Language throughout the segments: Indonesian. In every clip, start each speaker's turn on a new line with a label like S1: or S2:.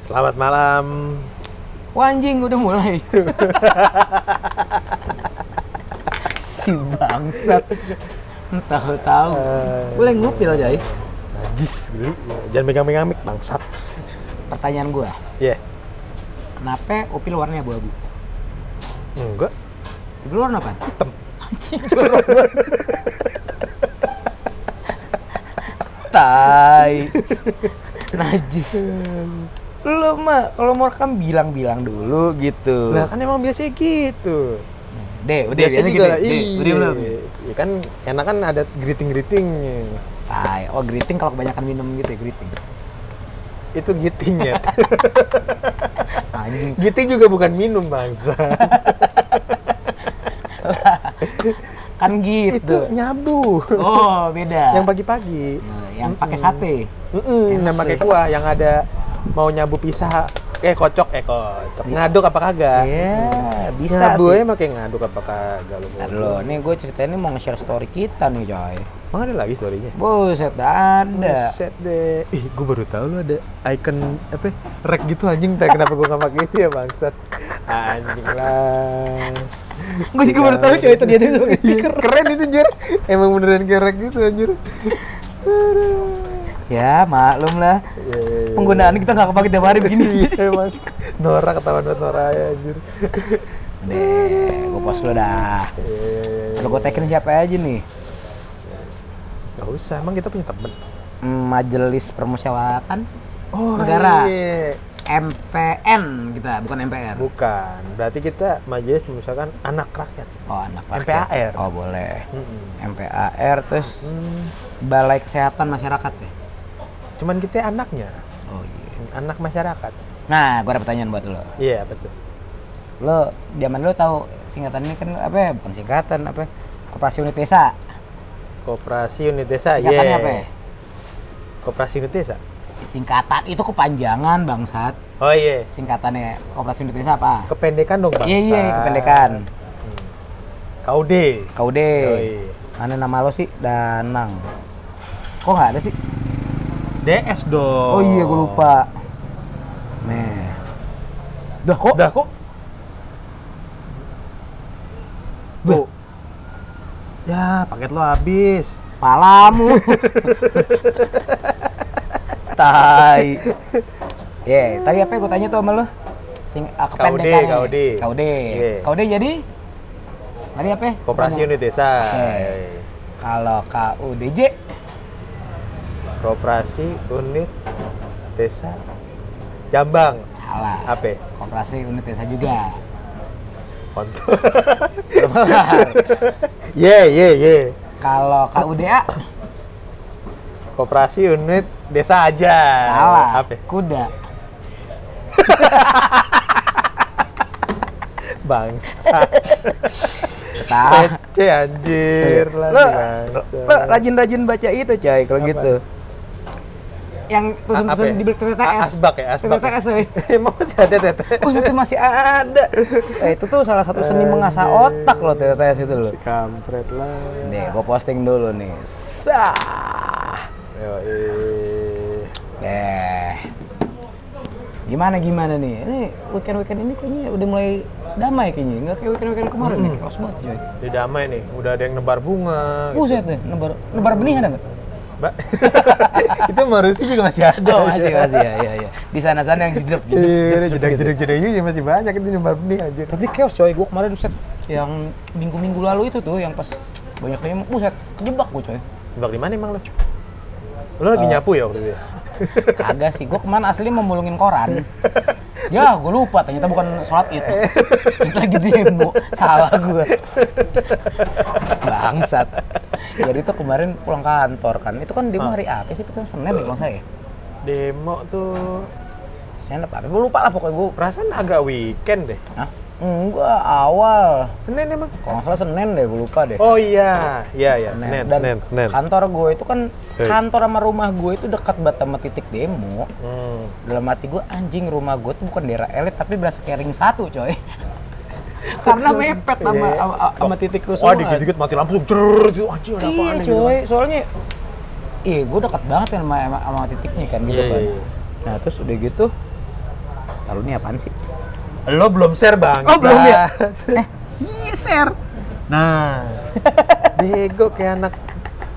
S1: Selamat malam.
S2: Wah anjing udah mulai. si bangsat. Tahu-tahu. Boleh ngupil aja.
S1: Najis geli. Jangan megang-megang mic bangsat.
S2: Pertanyaan gua,
S1: Ya.
S2: kenapa upil warnanya abu-abu?
S1: Enggak.
S2: Dulu warna apa?
S1: Hitam.
S2: Anjing jorok banget. Tai. Najis. Lu mah kalau mau rekam bilang-bilang dulu gitu.
S1: Nah, kan emang biasanya gitu.
S2: Deh, udah biasanya gitu.
S1: juga,
S2: Deh,
S1: iya.
S2: udah belum?
S1: Ya kan enak kan ada greeting-greeting.
S2: Tai. Oh, greeting kalau kebanyakan minum gitu ya greeting.
S1: Itu gitingnya.
S2: Anjing.
S1: giting juga bukan minum bangsa.
S2: Kan
S1: Itu
S2: gitu.
S1: nyabu.
S2: Oh, beda.
S1: Yang pagi-pagi.
S2: Nah, yang
S1: Mm-mm.
S2: pakai sate.
S1: Mm-mm, yang pakai kuah yang ada mau nyabu pisah eh kocok eh kocok ngaduk apa kagak
S2: Iya, bisa
S1: nyabu
S2: sih.
S1: aja pakai ngaduk apa kagak lu
S2: Ntar dulu, nih gue ceritain nih mau nge-share story kita nih coy.
S1: Emang ada lagi storynya?
S2: Buset, ada.
S1: Buset deh. Ih, gue baru tahu lu ada icon apa? ya, Rek gitu anjing. Tak kenapa gue nggak pakai itu ya bangsat. Anjing lah.
S2: Gue juga baru tahu coy ternyata itu pakai
S1: Iya,
S2: stiker.
S1: Keren itu anjir. Emang beneran kayak rek gitu anjir. Aduh.
S2: Ya, maklum lah.
S1: Iya, iya, iya.
S2: Penggunaan kita nggak kepake tiap hari begini.
S1: Iya, emang. Nora ketahuan banget Nora ya anjir.
S2: Deh, gue post lu
S1: Iya, iya,
S2: dah.
S1: iya.
S2: Kalau gue tagin siapa aja nih?
S1: Gak usah, emang kita punya temen.
S2: Hmm, Majelis Permusyawaratan
S1: Oh,
S2: Negara.
S1: iya.
S2: MPN kita, bukan MPR.
S1: Bukan. Berarti kita majelis misalkan anak rakyat.
S2: Oh, anak rakyat.
S1: MPAR.
S2: Oh, boleh.
S1: Mm-mm. Hmm.
S2: MPAR terus Balai Kesehatan Masyarakat ya.
S1: Cuman kita anaknya,
S2: Oh iya.
S1: anak masyarakat.
S2: Nah, gua ada pertanyaan buat lo.
S1: Iya betul.
S2: Lo zaman lo tahu singkatan ini kan apa? ya? Bukan singkatan apa? ya? Koperasi Unit Desa.
S1: Koperasi unit desa.
S2: Singkatannya
S1: yeah.
S2: apa? ya?
S1: Koperasi unit desa.
S2: Singkatan itu kepanjangan bangsat.
S1: Oh iya.
S2: Singkatannya Koperasi Unit Desa apa?
S1: Kependekan dong bang.
S2: Iya iya kependekan.
S1: KUD.
S2: KUD.
S1: Yoi.
S2: Mana nama lo sih? Danang. Kok nggak ada sih?
S1: DS dong.
S2: Oh, iya gue lupa. Nih. Dah kok?
S1: Udah kok.
S2: Duh.
S1: Tuh. Ya paket lo habis.
S2: palamu tai ya tadi apa gue tanya tuh sama lo sing ah, kependekannya.
S1: KUD.
S2: KUD.
S1: Iya.
S2: KUD jadi tadi apa
S1: Koperasi
S2: Tanya.
S1: unit desa.
S2: Oke. kalau KUDJ
S1: Koperasi unit desa. Jambang.
S2: salah
S1: Apa?
S2: koperasi unit desa juga
S1: Kontol. Ye ye ye.
S2: kalau KUDA
S1: Koperasi unit desa aja.
S2: salah
S1: Apa?
S2: kuda
S1: Bangsa.
S2: Tah.
S1: Pece anjir lah.
S2: lo,
S1: bangsa.
S2: lo rajin-rajin baca itu coy kalau
S1: Apa?
S2: gitu yang
S1: apa ya?
S2: tulisan-tulisan di beli
S1: A-
S2: TTS
S1: asbak ya, asbak.
S2: TTS coy
S1: Emang masih ada teteh.
S2: Oh, itu masih ada. Eh, itu tuh salah satu seni mengasah otak loh TTS itu loh.
S1: Si kampret lah.
S2: Nih, gue posting dulu nih. Sah.
S1: Yoi.
S2: Deh. Eh, Gimana gimana nih? Ini weekend weekend ini kayaknya udah mulai damai kayaknya. Nggak kayak weekend weekend kemarin nih. Chaos banget coy.
S1: Udah damai nih, udah ada yang nebar bunga. gitu.
S2: Buset deh, nebar nebar benih ada nggak?
S1: Ba- itu marusi juga masih ada.
S2: Oh, masih masih ya ya ya. Di sana sana yang jedrep
S1: Iya,
S2: jedrep, jedrep,
S1: jedek-jedek jedek masih banyak itu nebar benih anjir.
S2: Tapi chaos coy, gue kemarin set yang minggu-minggu lalu itu tuh yang pas banyak banyak buset kejebak gue coy.
S1: Nebak di mana emang lo? Lo lagi
S2: Eh.
S1: nyapu ya waktu itu? ya?
S2: Kagak sih, gue kemana asli mau mulungin koran. Ya, gue lupa ternyata bukan sholat itu. Itu lagi demo, salah gue. Bangsat. Jadi tuh kemarin pulang kantor kan, itu kan
S1: Ah.
S2: demo hari apa sih? Itu kan Senin ya kalau nggak salah ya?
S1: Demo tuh
S2: Senin apa? Gue lupa lah pokoknya gue.
S1: perasaan agak weekend deh.
S2: Hah? Enggak, awal.
S1: Senin emang?
S2: Kalau nggak salah Senin deh, gue lupa deh.
S1: Oh iya, iya iya. Senin,
S2: Eh. Senin. Dan
S1: Senin, Senin.
S2: kantor gue itu kan,
S1: Hei.
S2: kantor sama rumah gue itu dekat banget sama titik demo.
S1: Hmm.
S2: dalam hati gue anjing rumah gue tuh bukan daerah elit tapi berasa kayak ring satu coy karena mepet sama
S1: Iya.
S2: sama, sama titik
S1: Wah,
S2: kerusuhan
S1: dikit-dikit mati lampu, cer, gitu. Anjir, ada
S2: iya
S1: apaan nih, gitu
S2: coy
S1: kan.
S2: soalnya iya gue dekat banget sama, sama, sama titiknya kan gitu
S1: Iya,
S2: kan
S1: iya, iya.
S2: nah terus udah gitu Kalau ini apaan sih?
S1: Lo belum share bang.
S2: Oh, belum ya?
S1: Eh, iya share. Nah, bego kayak anak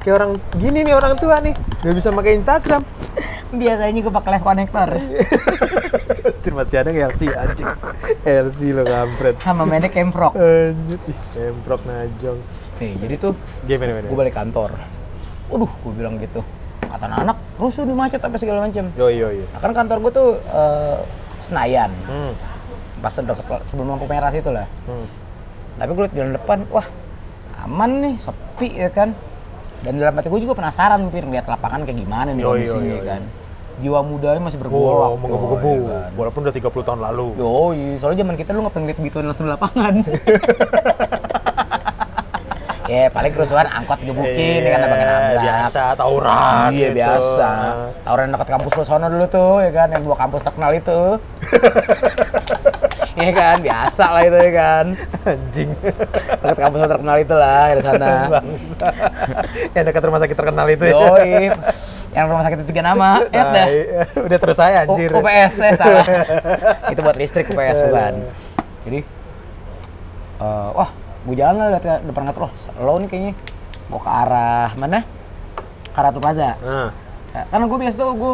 S1: kayak orang gini nih orang tua nih nggak bisa pakai Instagram.
S2: Biasanya gue pakai live connector
S1: Masih ada nggak LC anjing. LC lo kampret.
S2: sama mainnya Camfrog.
S1: Anjir, ih, Emprok najong.
S2: Nih, jadi tuh
S1: Gimana gimana?
S2: gue balik kantor. Waduh, gue bilang gitu. Kata anak, rusuh di macet apa segala macam.
S1: Yo yo yo.
S2: Nah, kan kantor gue tuh eh, Senayan,
S1: Hmm.
S2: pas deket sebelum lampu merah situ lah.
S1: hmm.
S2: Tapi gue liat jalan depan, wah aman nih, sepi ya kan. Dan dalam hati gue juga penasaran, Pir, ngeliat lapangan kayak gimana nih
S1: Yoi,
S2: kondisinya
S1: yoi,
S2: ya
S1: yoi.
S2: kan. Jiwa mudanya masih bergolak.
S1: Wow, menggebu-gebu.
S2: coy, ya kan.
S1: Walaupun udah 30 tahun lalu.
S2: Yoi, soalnya zaman kita lu nggak pernah lihat gituan langsung di lapangan. ya, paling kerusuhan angkot gebukin, ya kan
S1: Iya,
S2: abangnya nabrak.
S1: Biasa, tawuran.
S2: Iya
S1: gitu.
S2: biasa. Tawaran dekat kampus lo sono dulu tuh, ya kan? Yang dua kampus terkenal itu. Iya kan, biasa lah itu ya kan.
S1: Anjing.
S2: Dekat kampus lo terkenal itu lah di sana.
S1: Bangsa. Yang dekat rumah sakit terkenal itu ya.
S2: Yoi, yang rumah sakit itu tiga nama, ya dah.
S1: Tai. Udah terus saya
S2: U-
S1: anjir.
S2: UPS, eh, salah. itu buat listrik UPS bukan. Jadi, eh, wah, gue jalan lah liat ke depan kantor. Wah, lo nih kayaknya mau ke arah mana? Ke Ratu Plaza.
S1: Nah,
S2: Nah, karena gue biasa tuh gue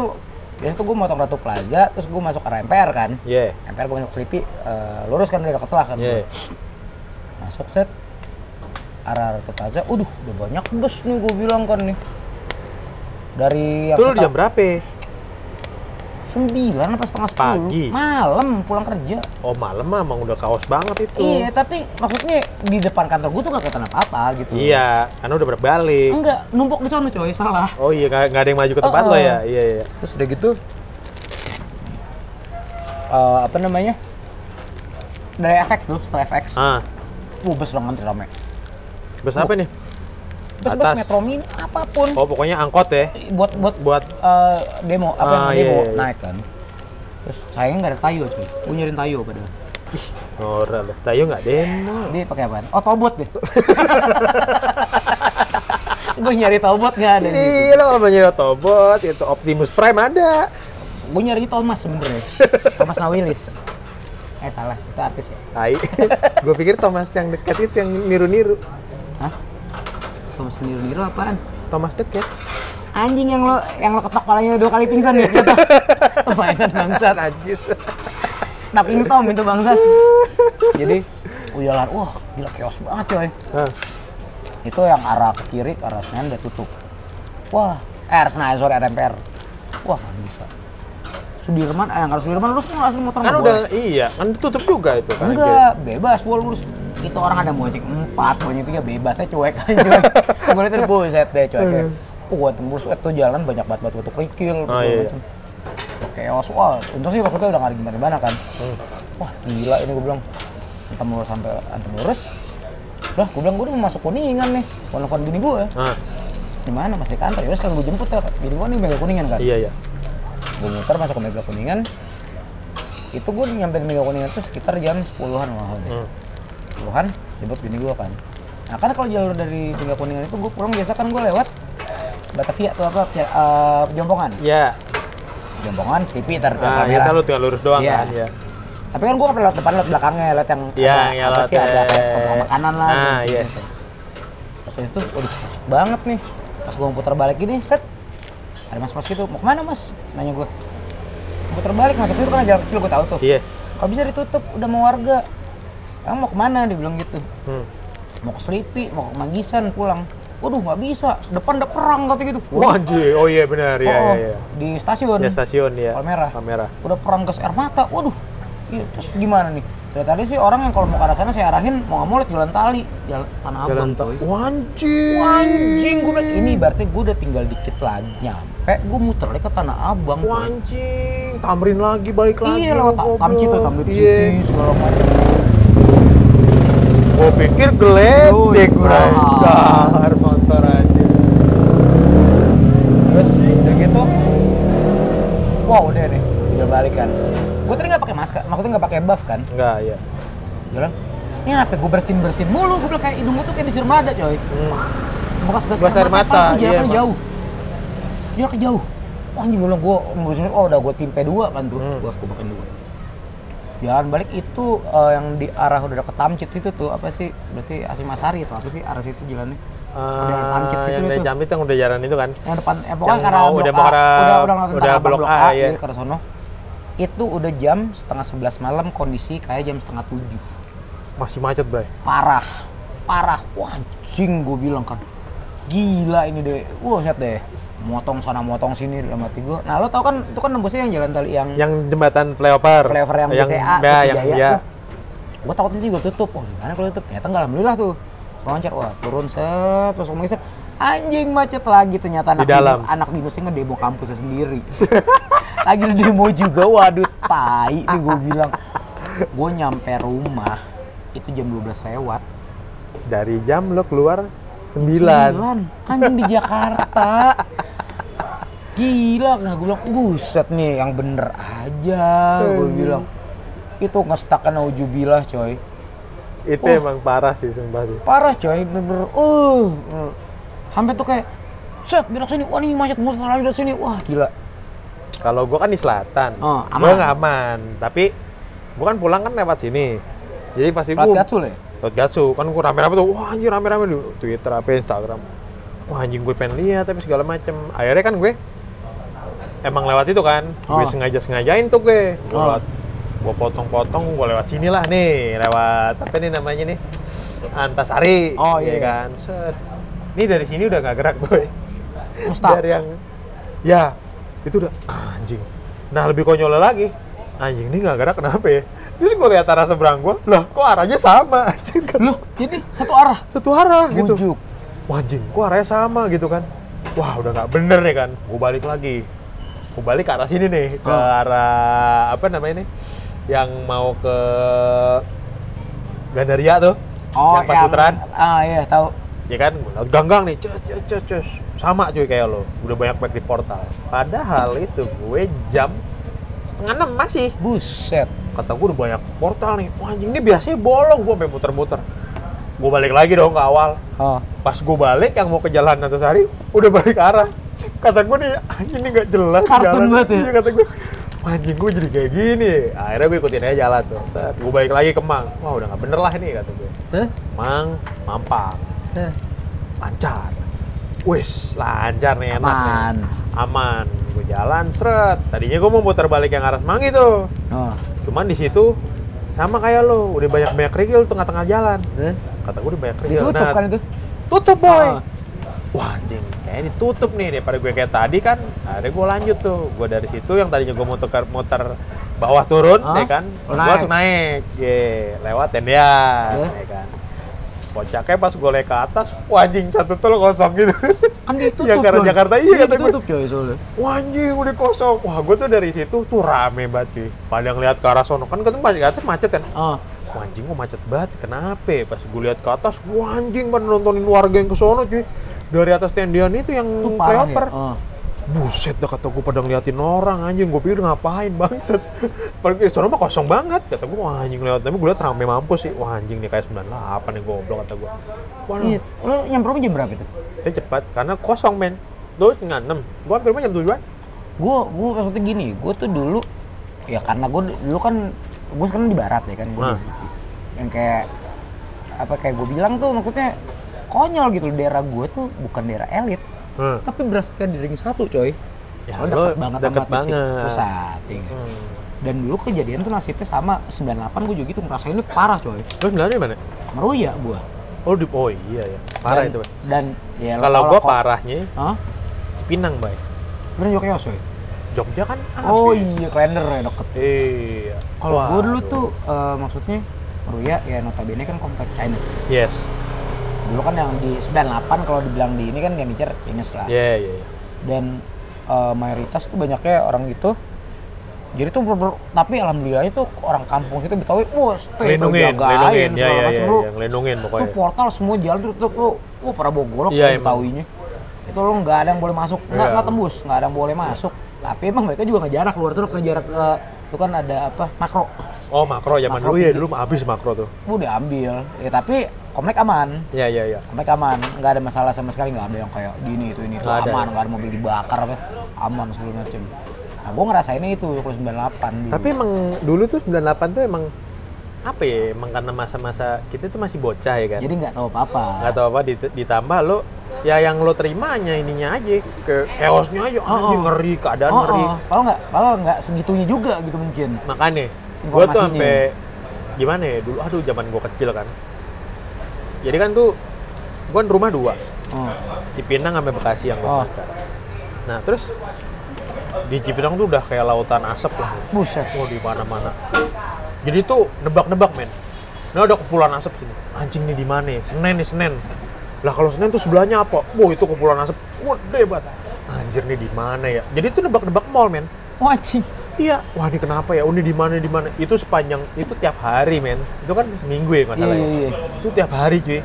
S2: biasa tuh gue motong Ratu Plaza terus gue masuk arah MPR kan
S1: yeah.
S2: MPR gue masuk Selipi eh, lurus kan dari deket lah kan
S1: Yeah.
S2: masuk set arah Ratu Plaza udah udah banyak bus nih gue bilang kan nih dari
S1: Itu lu jam
S2: jam
S1: berapa?
S2: sembilan apa setengah sepuluh
S1: Pagi.
S2: malam pulang kerja
S1: Oh malam mah emang udah kaos banget itu.
S2: iya tapi maksudnya di depan kantor gue tuh gak kelihatan apa apa gitu
S1: Iya, karena udah berbalik.
S2: enggak numpuk di sana coy salah
S1: Oh iya, nggak nggak ada yang maju ke tempat lo
S2: Uh-uh.
S1: ya? Iya iya.
S2: terus udah gitu eh, apa namanya dari FX tuh setelah FX
S1: Ah,
S2: Uh, bus dong antri rame.
S1: bus apa nih?
S2: Bus
S1: Atas.
S2: bus metro mini apapun
S1: Oh pokoknya angkot ya,
S2: buat buat
S1: buat
S2: eh, demo apa
S1: Ah,
S2: yang
S1: iya,
S2: demo
S1: iya, iya.
S2: naik kan. Terus sayangnya nggak ada tayo cuy. Gue nyariin tayo padahal.
S1: Nora lah. Tayo nggak demo.
S2: Dia pakai apaan? Oh tobot deh. gue nyari tobot nggak ada.
S1: Iya lo kalau mau nyari Autobot, itu Optimus Prime ada.
S2: Gue nyari Thomas sebenernya. Thomas Nawilis. Eh salah, itu artis ya.
S1: Tai. Gue pikir Thomas yang dekat itu yang niru-niru.
S2: Hah? Thomas niru-niru apaan?
S1: Thomas dekat.
S2: Anjing yang lo yang lo ketok palanya dua kali pingsan ya. Mainan bangsat.
S1: Najis.
S2: Naking Tom itu bangsa. Jadi uyalan, wah gila chaos banget coy.
S1: Hah.
S2: Itu yang arah ke kiri, ke arah Senayan udah tutup. Wah, eh arah Senayan, sorry, arah MPR. Wah, nggak bisa. Sudirman, eh, yang arah Sudirman, lurus mau langsung muter
S1: Kan
S2: nggak
S1: udah iya, kan tutup juga itu
S2: boleh.
S1: kan.
S2: Enggak, bebas, gua lurus. Itu orang ada mojek empat, mojek tiga bebas, saya cuek aja. Gue liat buset deh cuek. Oh, gua tembus, eh, tuh jalan banyak banget batu-batu
S1: Iya.
S2: kerikil.
S1: Oh, iya.
S2: Chaos, wah, untung sih waktu itu udah nggak ada gimana-gimana kan.
S1: Hmm.
S2: wah gila ini gue bilang antam lurus sampai antam lurus lah gue bilang gue udah mau masuk kuningan nih gue nelfon bini gue
S1: Ah,
S2: di mana masih di kantor ya sekarang gue jemput ya bini gue nih mega kuningan kan
S1: iya iya.
S2: gue muter masuk ke mega kuningan itu gue nyampe di mega kuningan tuh sekitar jam 10-an malah
S1: Hmm.
S2: puluhan jemput bini gue kan nah karena kalau jalur dari mega kuningan itu gue pulang biasa kan gue lewat Batavia tuh apa Pia- eh, Jompongan
S1: Ya,
S2: Jompongan Sleepy ntar tiap
S1: ah,
S2: kamera.
S1: ya kan lu tinggal lurus doang
S2: Iya.
S1: kan ya.
S2: Tapi kan gua nggak pernah lewat depan, lewat belakangnya, lewat yang
S1: Iya,
S2: ada,
S1: yang
S2: apa
S1: lewat,
S2: sih, ada
S1: eh,
S2: toko makanan lah.
S1: ah,
S2: gitu.
S1: iya.
S2: Terus habis itu, waduh, asik banget nih. Pas gua mau putar balik gini, set, ada mas-mas gitu, mau kemana mas? Nanya gua. Putar balik, masuk itu kan jalan kecil gua tahu tuh.
S1: Iya.
S2: Kalau bisa ditutup, udah mau warga. Emang mau kemana? Dia bilang gitu.
S1: Hmm.
S2: Mau ke Selipi, mau ke Manggisan, pulang. Waduh, nggak bisa. Depan ada perang kata gitu.
S1: Wah, anjir. Oh iya benar, iya
S2: Oh,
S1: iya iya.
S2: Di stasiun.
S1: Ya stasiun ya.
S2: Palmerah.
S1: Kamera.
S2: udah perang gas air mata waduh iya, terus gimana nih dari tadi sih orang yang kalau mau ke arah sana saya arahin mau nggak mau liat jalan tali jalan tanah abang
S1: Jalan tol.
S2: coy
S1: Wah, anjir.
S2: anjing gue bilang ini berarti gue udah tinggal dikit lagi nyampe gue muter lagi ke tanah abang coy.
S1: Wancing, tamrin lagi balik lagi.
S2: iya lewat
S1: goblok.
S2: tamci tuh tamci
S1: Iya.
S2: city segala macam
S1: Gua pikir geledek
S2: Yoi,
S1: dasar motor aja.
S2: terus udah gitu wow udah nih udah balik kan gue tadi nggak pakai masker maksudnya nggak pakai buff kan
S1: Enggak ya.
S2: jalan ini apa gue bersin bersin mulu gue bilang kayak hidung gue tuh kayak disiram lada coy
S1: Hmm.
S2: bekas gas
S1: Bekas air mata,
S2: Pak. Jaraknya
S1: iya, emang.
S2: jauh Iya, jaraknya jauh wah anjing gue bilang gue ngurusin oh udah gue timpe dua kan tuh
S1: Hmm.
S2: gua gue makan dua Jalan balik itu eh, yang di arah udah deket Tamcit situ tuh apa sih? Berarti Asimasari atau apa sih arah situ jalannya? Udah ada Tamcit
S1: Ah,
S2: situ
S1: yang dari
S2: itu.
S1: Jampit yang udah jalan itu kan.
S2: Yang depan eh pokoknya
S1: Yang
S2: karena
S1: mau udah mau arah-
S2: udah udah ngeliatin
S1: udah
S2: tanah
S1: blok
S2: blok
S1: A,
S2: A,
S1: iya.
S2: iya, ke arah sono. Itu udah jam setengah sebelas malam kondisi kayak jam setengah tujuh.
S1: Masih macet, Bray.
S2: parah parah wah anjing gue bilang kan gila ini deh wah lihat deh motong sana motong sini dalam hati gue nah lo tau kan itu kan nembusnya yang jalan tali yang
S1: Yang jembatan flyover.
S2: flavor yang
S1: Ya, yang
S2: BCA
S1: ya, yang
S2: Iya.
S1: ya.
S2: gue takutnya juga tutup oh gimana kalau tutup ternyata nggak alhamdulillah tuh loncat wah turun set terus ngomong set anjing macet lagi ternyata anak
S1: Di dalam.
S2: binus- anak binusnya ngedemo kampusnya sendiri lagi demo juga waduh tai nih gue bilang gue nyampe rumah itu jam 12 lewat
S1: Dari jam lo keluar 9.
S2: Anjing di Jakarta. Gila, nah gue bilang, buset nih yang bener aja. Gue
S1: Anjing.
S2: bilang, itu ngestakan aujubilah coy.
S1: Itu
S2: Oh.
S1: emang parah sih sumpah sih.
S2: Parah coy, bener-bener. Uh, sampai tuh kayak, set, belok sini, wah nih macet, mulut lagi dari sini, wah gila.
S1: Kalau gua kan di selatan.
S2: Oh,
S1: Gua
S2: aman.
S1: nggak aman, tapi gua kan pulang kan lewat sini. Jadi pasti
S2: Lewat
S1: gua
S2: Gatsul ya?
S1: Lewat Gatsu, kan gua rame-rame tuh, wah anjir rame-rame di Twitter, apa Instagram. Wah anjing gue pengen lihat tapi segala macem. Akhirnya kan gue emang lewat itu kan, gue
S2: Oh.
S1: sengaja-sengajain tuh gue. Gue
S2: Oh.
S1: lewat, gue potong-potong, gue lewat sini lah nih, lewat apa nih namanya nih? Antasari,
S2: Oh,
S1: ya
S2: iya.
S1: kan. Set. Ini dari sini udah nggak gerak gue.
S2: Mustahil.
S1: Dari yang, ya itu udah ah, anjing. Nah lebih konyol lagi, anjing ini nggak gerak kenapa ya? Terus gue lihat arah seberang gue, lah kok arahnya sama? Anjir, kan
S2: Loh, jadi satu arah.
S1: satu arah gitu.
S2: Bujuk.
S1: Wah anjing, kok arahnya sama gitu kan? Wah udah nggak bener nih kan? Gue balik lagi, gue balik ke arah sini nih, ke
S2: Ah.
S1: arah apa namanya nih? Yang mau ke Gandaria tuh, yang Pasutran.
S2: Oh, Ah iya, tahu.
S1: Ya kan, Gua lewat ganggang nih, cus, cus, cus, cus. Sama cuy kayak lo, udah banyak banget di portal. Padahal itu gue jam setengah enam masih
S2: Buset.
S1: kata gue udah banyak portal nih wah anjing ini biasanya bolong gue sampai muter-muter gue balik lagi dong ke awal
S2: Oh.
S1: pas gue balik yang mau ke jalan Natasari udah balik arah kata gue nih anjing ini nggak jelas
S2: Kartun banget ya?
S1: Iya, kata gue "Wah, anjing gue jadi kayak gini akhirnya gue ikutin aja jalan tuh saat gue balik lagi ke Mang wah udah nggak bener lah nih kata gue
S2: Hah?
S1: Mang mampang
S2: Hah?
S1: lancar wis lancar nih enak nih.
S2: Aman.
S1: aman gue jalan seret tadinya gue mau putar balik yang arah Semanggi tuh
S2: Oh.
S1: Cuman di situ sama kayak lo, udah banyak banyak kerikil tengah-tengah jalan.
S2: Terus?
S1: Kata gue udah banyak kerikil.
S2: Ditutup
S1: Nah,
S2: kan itu?
S1: Tutup boy.
S2: Ah.
S1: Wah anjing, kayaknya ditutup nih daripada gue kayak tadi kan. Akhirnya gue lanjut tuh, gue dari situ yang tadinya gue muter muter bawah turun, ya
S2: Ah.
S1: kan? Gue
S2: Lo naik.
S1: langsung naik, ye, lewat tendian,
S2: Terus?
S1: ya kan? Kocaknya pas gue lihat ke atas, wah anjing satu tol kosong gitu.
S2: kan ditutup
S1: Yang ke arah
S2: coy.
S1: Jakarta, iya, kata gue.
S2: ditutup coy soalnya
S1: Wah anjing udah kosong. Wah gue tuh dari situ tuh rame banget cuy. Pada ngeliat ke arah sono kan ketemu masih ke atas macet kan.
S2: ah
S1: Wah, anjing kok macet banget, kenapa ya? Pas gue lihat ke atas, wah anjing pada nontonin warga yang ke sono cuy. Dari atas tendian itu yang
S2: itu parah ya
S1: flyover.
S2: Ah.
S1: Buset dah kata gue pada ngeliatin orang anjing, gue pikir ngapain bangset. Padahal di sono mah kosong banget. Kata gue, wah anjing lewat, tapi gue liat rame mampus sih. Wah anjing nih kayak 98 nih goblok kata gue. Wah,
S2: iya lo nyampe rumah jam berapa itu
S1: itu cepat karena kosong men. Terus setengah enam, gue hampir rumah jam tujuan.
S2: gue gue maksudnya gini gue tuh dulu ya karena gue dulu kan gue sekarang di barat ya kan gue
S1: Nah.
S2: yang kayak apa kayak gue bilang tuh maksudnya konyol gitu loh, daerah gue tuh bukan daerah elit
S1: Hmm.
S2: tapi berasa kayak di ring satu coy
S1: Ya, lo
S2: Lo deket banget
S1: deket
S2: sama titik
S1: banget.
S2: pusat ya kan?
S1: Hmm.
S2: dan dulu kejadian tuh nasibnya sama 98 gue juga gitu ngerasainnya parah coy
S1: Lo sebenarnya di mana?
S2: meruya gue
S1: Oh, di, oh iya ya. Parah
S2: dan,
S1: itu, Bay.
S2: dan ya
S1: Kalau gue
S2: ko-
S1: parahnya
S2: Hah?
S1: Cipinang, Bay.
S2: Bener Yogyakarta coy?
S1: Jogja kan habis.
S2: Oh iya, kalender ya deket.
S1: Iya.
S2: Kalau gue dulu
S1: Waduh.
S2: tuh eh, maksudnya Ruya ya notabene kan komplek Chinese.
S1: Yes.
S2: Dulu kan yang di 98 kalau dibilang di ini kan yang dicer Chinese lah.
S1: Iya, iya, iya.
S2: Dan eh, mayoritas tuh banyaknya orang gitu. Jadi tuh bener-bener- tapi alhamdulillah itu orang kampung situ Betawi, wah, stay tuh
S1: Lindungin, lindungin.
S2: jagain
S1: Iya,
S2: segala
S1: iya, iya.
S2: macam lu.
S1: iya. Lindungin
S2: Itu
S1: pokoknya.
S2: portal semua jalan tuh tutup lu. Wah, pada bawa golok
S1: Iya,
S2: tuh
S1: emang.
S2: Betawinya. Itu lu nggak ada yang boleh masuk, nggak
S1: Iya.
S2: nggak tembus, nggak ada yang boleh masuk. Tapi emang mereka juga ngejarak keluar terus ngejarak ke itu kan ada apa makro
S1: Oh, makro zaman
S2: Makro gitu.
S1: dulu ya,
S2: tinggi.
S1: dulu mah habis makro tuh.
S2: udah ambil ya tapi komplek aman
S1: Iya, iya, iya.
S2: komplek aman nggak ada masalah sama sekali nggak ada yang kayak di ini itu ini itu
S1: Nggak ada.
S2: aman nggak ada mobil dibakar apa aman segala macem Nah, gue ngerasainnya itu kalau 98 dulu.
S1: Tapi emang dulu tuh 98 tuh emang apa ya? Emang karena masa-masa kita tuh masih bocah ya kan.
S2: jadi nggak tahu apa-apa.
S1: nggak tahu apa dit- ditambah lo ya yang lo terimanya ininya aja ke chaosnya aja anjing ngeri keadaan
S2: Oh,
S1: ngeri
S2: oh. Kalau nggak, kalau nggak segitunya juga gitu mungkin.
S1: makanya gue tuh
S2: Informasinya.
S1: sampai gimana ya dulu aduh zaman gue kecil kan jadi kan tuh gue kan rumah dua
S2: Oh.
S1: Cipinang sampai Bekasi yang
S2: Oh.
S1: gue nah terus di Cipinang tuh udah kayak lautan asap lah
S2: Buset.
S1: mau di mana-mana jadi tuh nebak-nebak men nah ada kepulan asap sini anjing nih di mana ya? Senen nih Senen lah kalau Senen tuh sebelahnya apa wah itu kepulan asap gede banget anjir nih di mana ya jadi tuh nebak-nebak mall men
S2: Wah, anjing.
S1: iya wah ini kenapa ya Oh, ini di mana di mana itu sepanjang itu tiap hari men itu kan seminggu ya
S2: Iya,
S1: masalahnya
S2: iya, iya.
S1: itu tiap hari cuy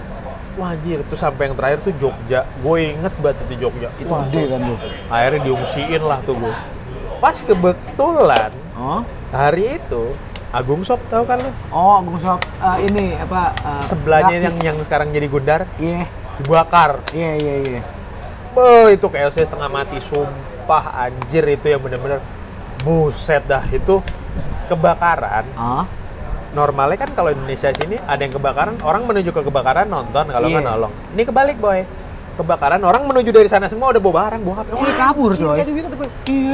S1: wah anjir tuh sampai yang terakhir tuh Jogja gue inget banget itu Jogja
S2: Itu
S1: Wah,
S2: gede kan tuh.
S1: akhirnya diungsiin lah tuh gue pas kebetulan
S2: Oh.
S1: hari itu Agung Sop tahu kan lo
S2: Oh, Agung Sob, eh, ini apa? eh,
S1: sebelahnya
S2: Raksi.
S1: yang yang sekarang jadi Gundar
S2: Iya,
S1: dibakar
S2: iya, iya, iya.
S1: Beuh, itu kayak saya setengah mati sumpah anjir itu yang bener-bener buset dah itu kebakaran
S2: Ah,
S1: normalnya kan kalau Indonesia sini ada yang kebakaran orang menuju ke kebakaran nonton kalau nggak
S2: Iya.
S1: nolong ini kebalik boy kebakaran orang menuju dari sana semua udah bawa barang bawa HP Oh,
S2: Iya, kabur,
S1: anjir,
S2: coy.
S1: tadi gua kata gua,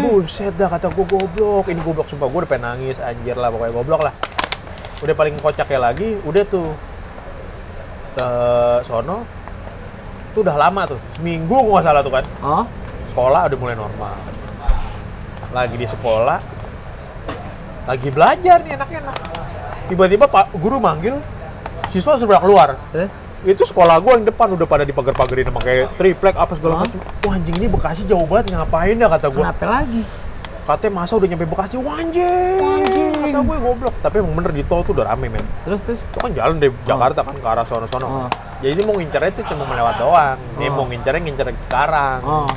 S1: buset dah kata gue goblok ini goblok sumpah gue udah pengen nangis anjir lah pokoknya goblok lah udah paling kocaknya lagi udah tuh ke sono tuh udah lama tuh seminggu gua nggak salah tuh kan
S2: oh,
S1: sekolah udah mulai normal lagi di sekolah lagi belajar nih enak-enak tiba-tiba pak guru manggil siswa sudah keluar
S2: terus?
S1: itu sekolah gua yang depan udah pada dipagar-pagarin sama kayak triplek apa
S2: Hah?
S1: segala macam wah anjing ini Bekasi jauh banget ngapain ya kata gua
S2: Kenapa lagi?
S1: katanya masa udah nyampe Bekasi wah anjing kata gue goblok tapi emang bener di tol tuh udah rame men
S2: Terus, terus?
S1: itu kan jalan
S2: Ah.
S1: dari Jakarta kan ke arah sono-sono
S2: Oh.
S1: jadi dia mau ngincarnya itu cuma melewat doang dia
S2: Oh.
S1: mau ngincarnya ngincar ke Karang
S2: Oh,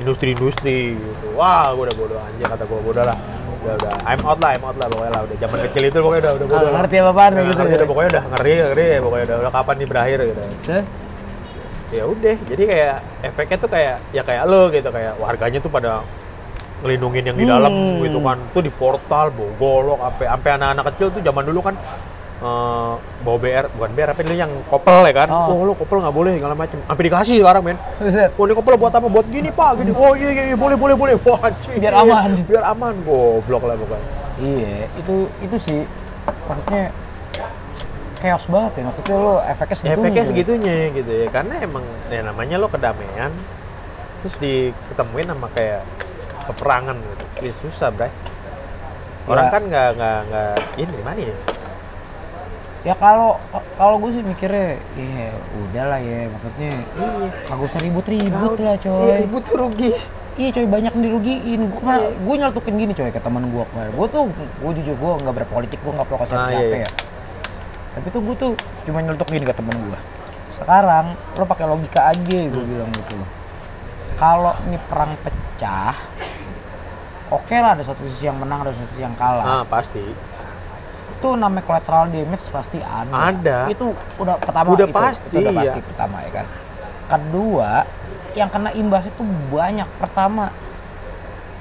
S1: industri-industri gitu. Wah, gue udah bodoh aja kata gue bodoh lah. Udah udah, I'm out lah, I'm out lah pokoknya lah. Udah zaman kecil itu pokoknya udah udah bodoh.
S2: Nggak
S1: lah.
S2: ngerti apa-apaan
S1: Nggak
S2: gitu
S1: ngerti
S2: ya.
S1: udah, pokoknya udah ngeri ngeri pokoknya udah, udah kapan nih berakhir gitu.
S2: terus?
S1: Ya udah, jadi kayak efeknya tuh kayak ya kayak lo gitu kayak warganya tuh pada ngelindungin yang di dalam
S2: Hmm.
S1: gitu kan. Tuh di portal, bawa golok, sampai sampai anak-anak kecil tuh zaman dulu kan eh bawa BR, bukan BR, apa dulu yang kopel ya kan? Oh,
S2: Oh.
S1: lo kopel nggak boleh segala macem. Sampai dikasih sekarang men.
S2: Buset.
S1: Oh ini kepala buat apa? Buat gini pak, gini. Oh iya iya iya, boleh boleh boleh. Wah anjing.
S2: Biar aman.
S1: Biar aman. Goblok lah pokoknya.
S2: Iya, itu itu sih maksudnya chaos banget ya. Maksudnya lo efeknya segitu.
S1: Iya, Efeknya segitunya gitu ya. Karena emang ya namanya lo kedamaian, terus diketemuin sama kayak peperangan gitu. Ya, susah bray. Orang
S2: Ya.
S1: kan nggak nggak nggak ini gimana ya?
S2: Ya kalau kalau gue sih mikirnya, ya udahlah ya maksudnya. Kagak usah ribut-ribut lah
S1: Iya,
S2: coy.
S1: ibu tuh rugi.
S2: Iya coy banyak yang dirugiin. Gue
S1: Iya.
S2: gue nyeletukin gini coy ke teman gue kemarin. Gue tuh gue jujur gue nggak berpolitik, gue nggak pro siapa
S1: Ah, iya, iya.
S2: ya. Tapi tuh gue tuh cuma nyeletuk gini ke teman gue. Sekarang lo pakai logika aja
S1: Hmm.
S2: gue bilang gitu. Kalau ini perang pecah, oke lah ada satu sisi yang menang ada satu sisi yang kalah.
S1: Ah pasti.
S2: Itu namanya collateral damage pasti ada.
S1: Ada.
S2: Itu udah pertama
S1: Udah
S2: itu,
S1: pasti,
S2: itu udah pasti
S1: iya.
S2: pertama ya kan. Kedua, yang kena imbas itu banyak. Pertama,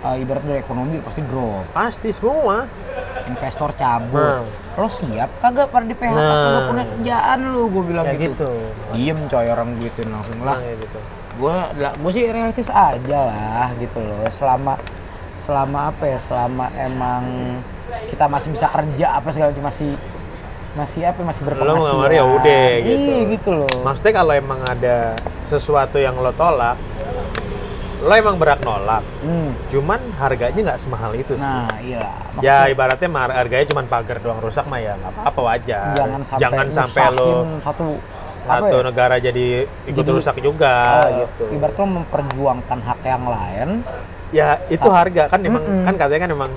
S2: eh, ibarat dari ekonomi pasti drop,
S1: Pasti semua.
S2: investor cabut.
S1: Hmm.
S2: Lo siap kagak pada di PHK,
S1: Nah.
S2: kagak punya kerjaan lo, gue bilang
S1: Kayak
S2: gitu.
S1: gitu.
S2: Diem coy orang gue ituin langsung lah.
S1: Nah, kayak gitu.
S2: Gue gue sih realistis aja lah gitu loh. Selama selama apa ya? Selama emang kita masih bisa kerja apa segala macam masih masih apa masih berpenghasilan.
S1: ngelamar ya udah, gitu.
S2: Iya gitu loh.
S1: Maksudnya kalau emang ada sesuatu yang lo tolak, lo emang berat nolak.
S2: Hmm.
S1: Cuman harganya nggak semahal itu. sih.
S2: Nah, iya. Maksudnya
S1: ya ibaratnya mar- harganya cuman pagar doang rusak mah ya nggak apa-apa wajar.
S2: jangan sampai
S1: Jangan sampai lo
S2: nyusahin satu apa
S1: satu
S2: ya?
S1: negara jadi ikut
S2: Jadi-
S1: rusak juga
S2: eh,
S1: gitu.
S2: Ibarat lo memperjuangkan hak yang lain.
S1: Ya itu harga kan memang
S2: Ah. Mm-mm.
S1: kan katanya kan memang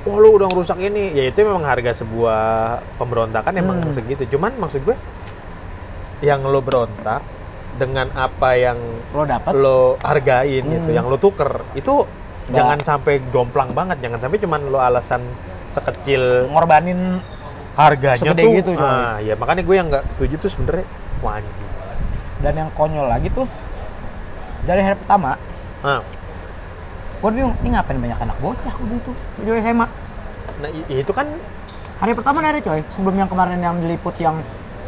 S1: Wah lu udah rusak ini, ya itu memang harga sebuah pemberontakan emang
S2: Hmm.
S1: segitu. Cuman maksud gue, yang lo berontak dengan apa yang
S2: Lo dapat
S1: lo hargain gitu,
S2: Hmm.
S1: yang lo tuker itu
S2: Nggak.
S1: jangan sampai jomplang banget, jangan sampai cuman lo alasan sekecil
S2: ngorbanin
S1: harganya
S2: Segede
S1: tuh.
S2: gitu, coy.
S1: ah, ya makanya gue yang nggak setuju tuh sebenernya wah anjing.
S2: dan yang konyol lagi tuh dari hari pertama
S1: Ah,
S2: Gue bingung, ini ngapain banyak anak bocah gue gitu. Jadi SMA.
S1: Nah, i- itu kan
S2: Hari pertama dari coy, sebelum yang kemarin yang diliput yang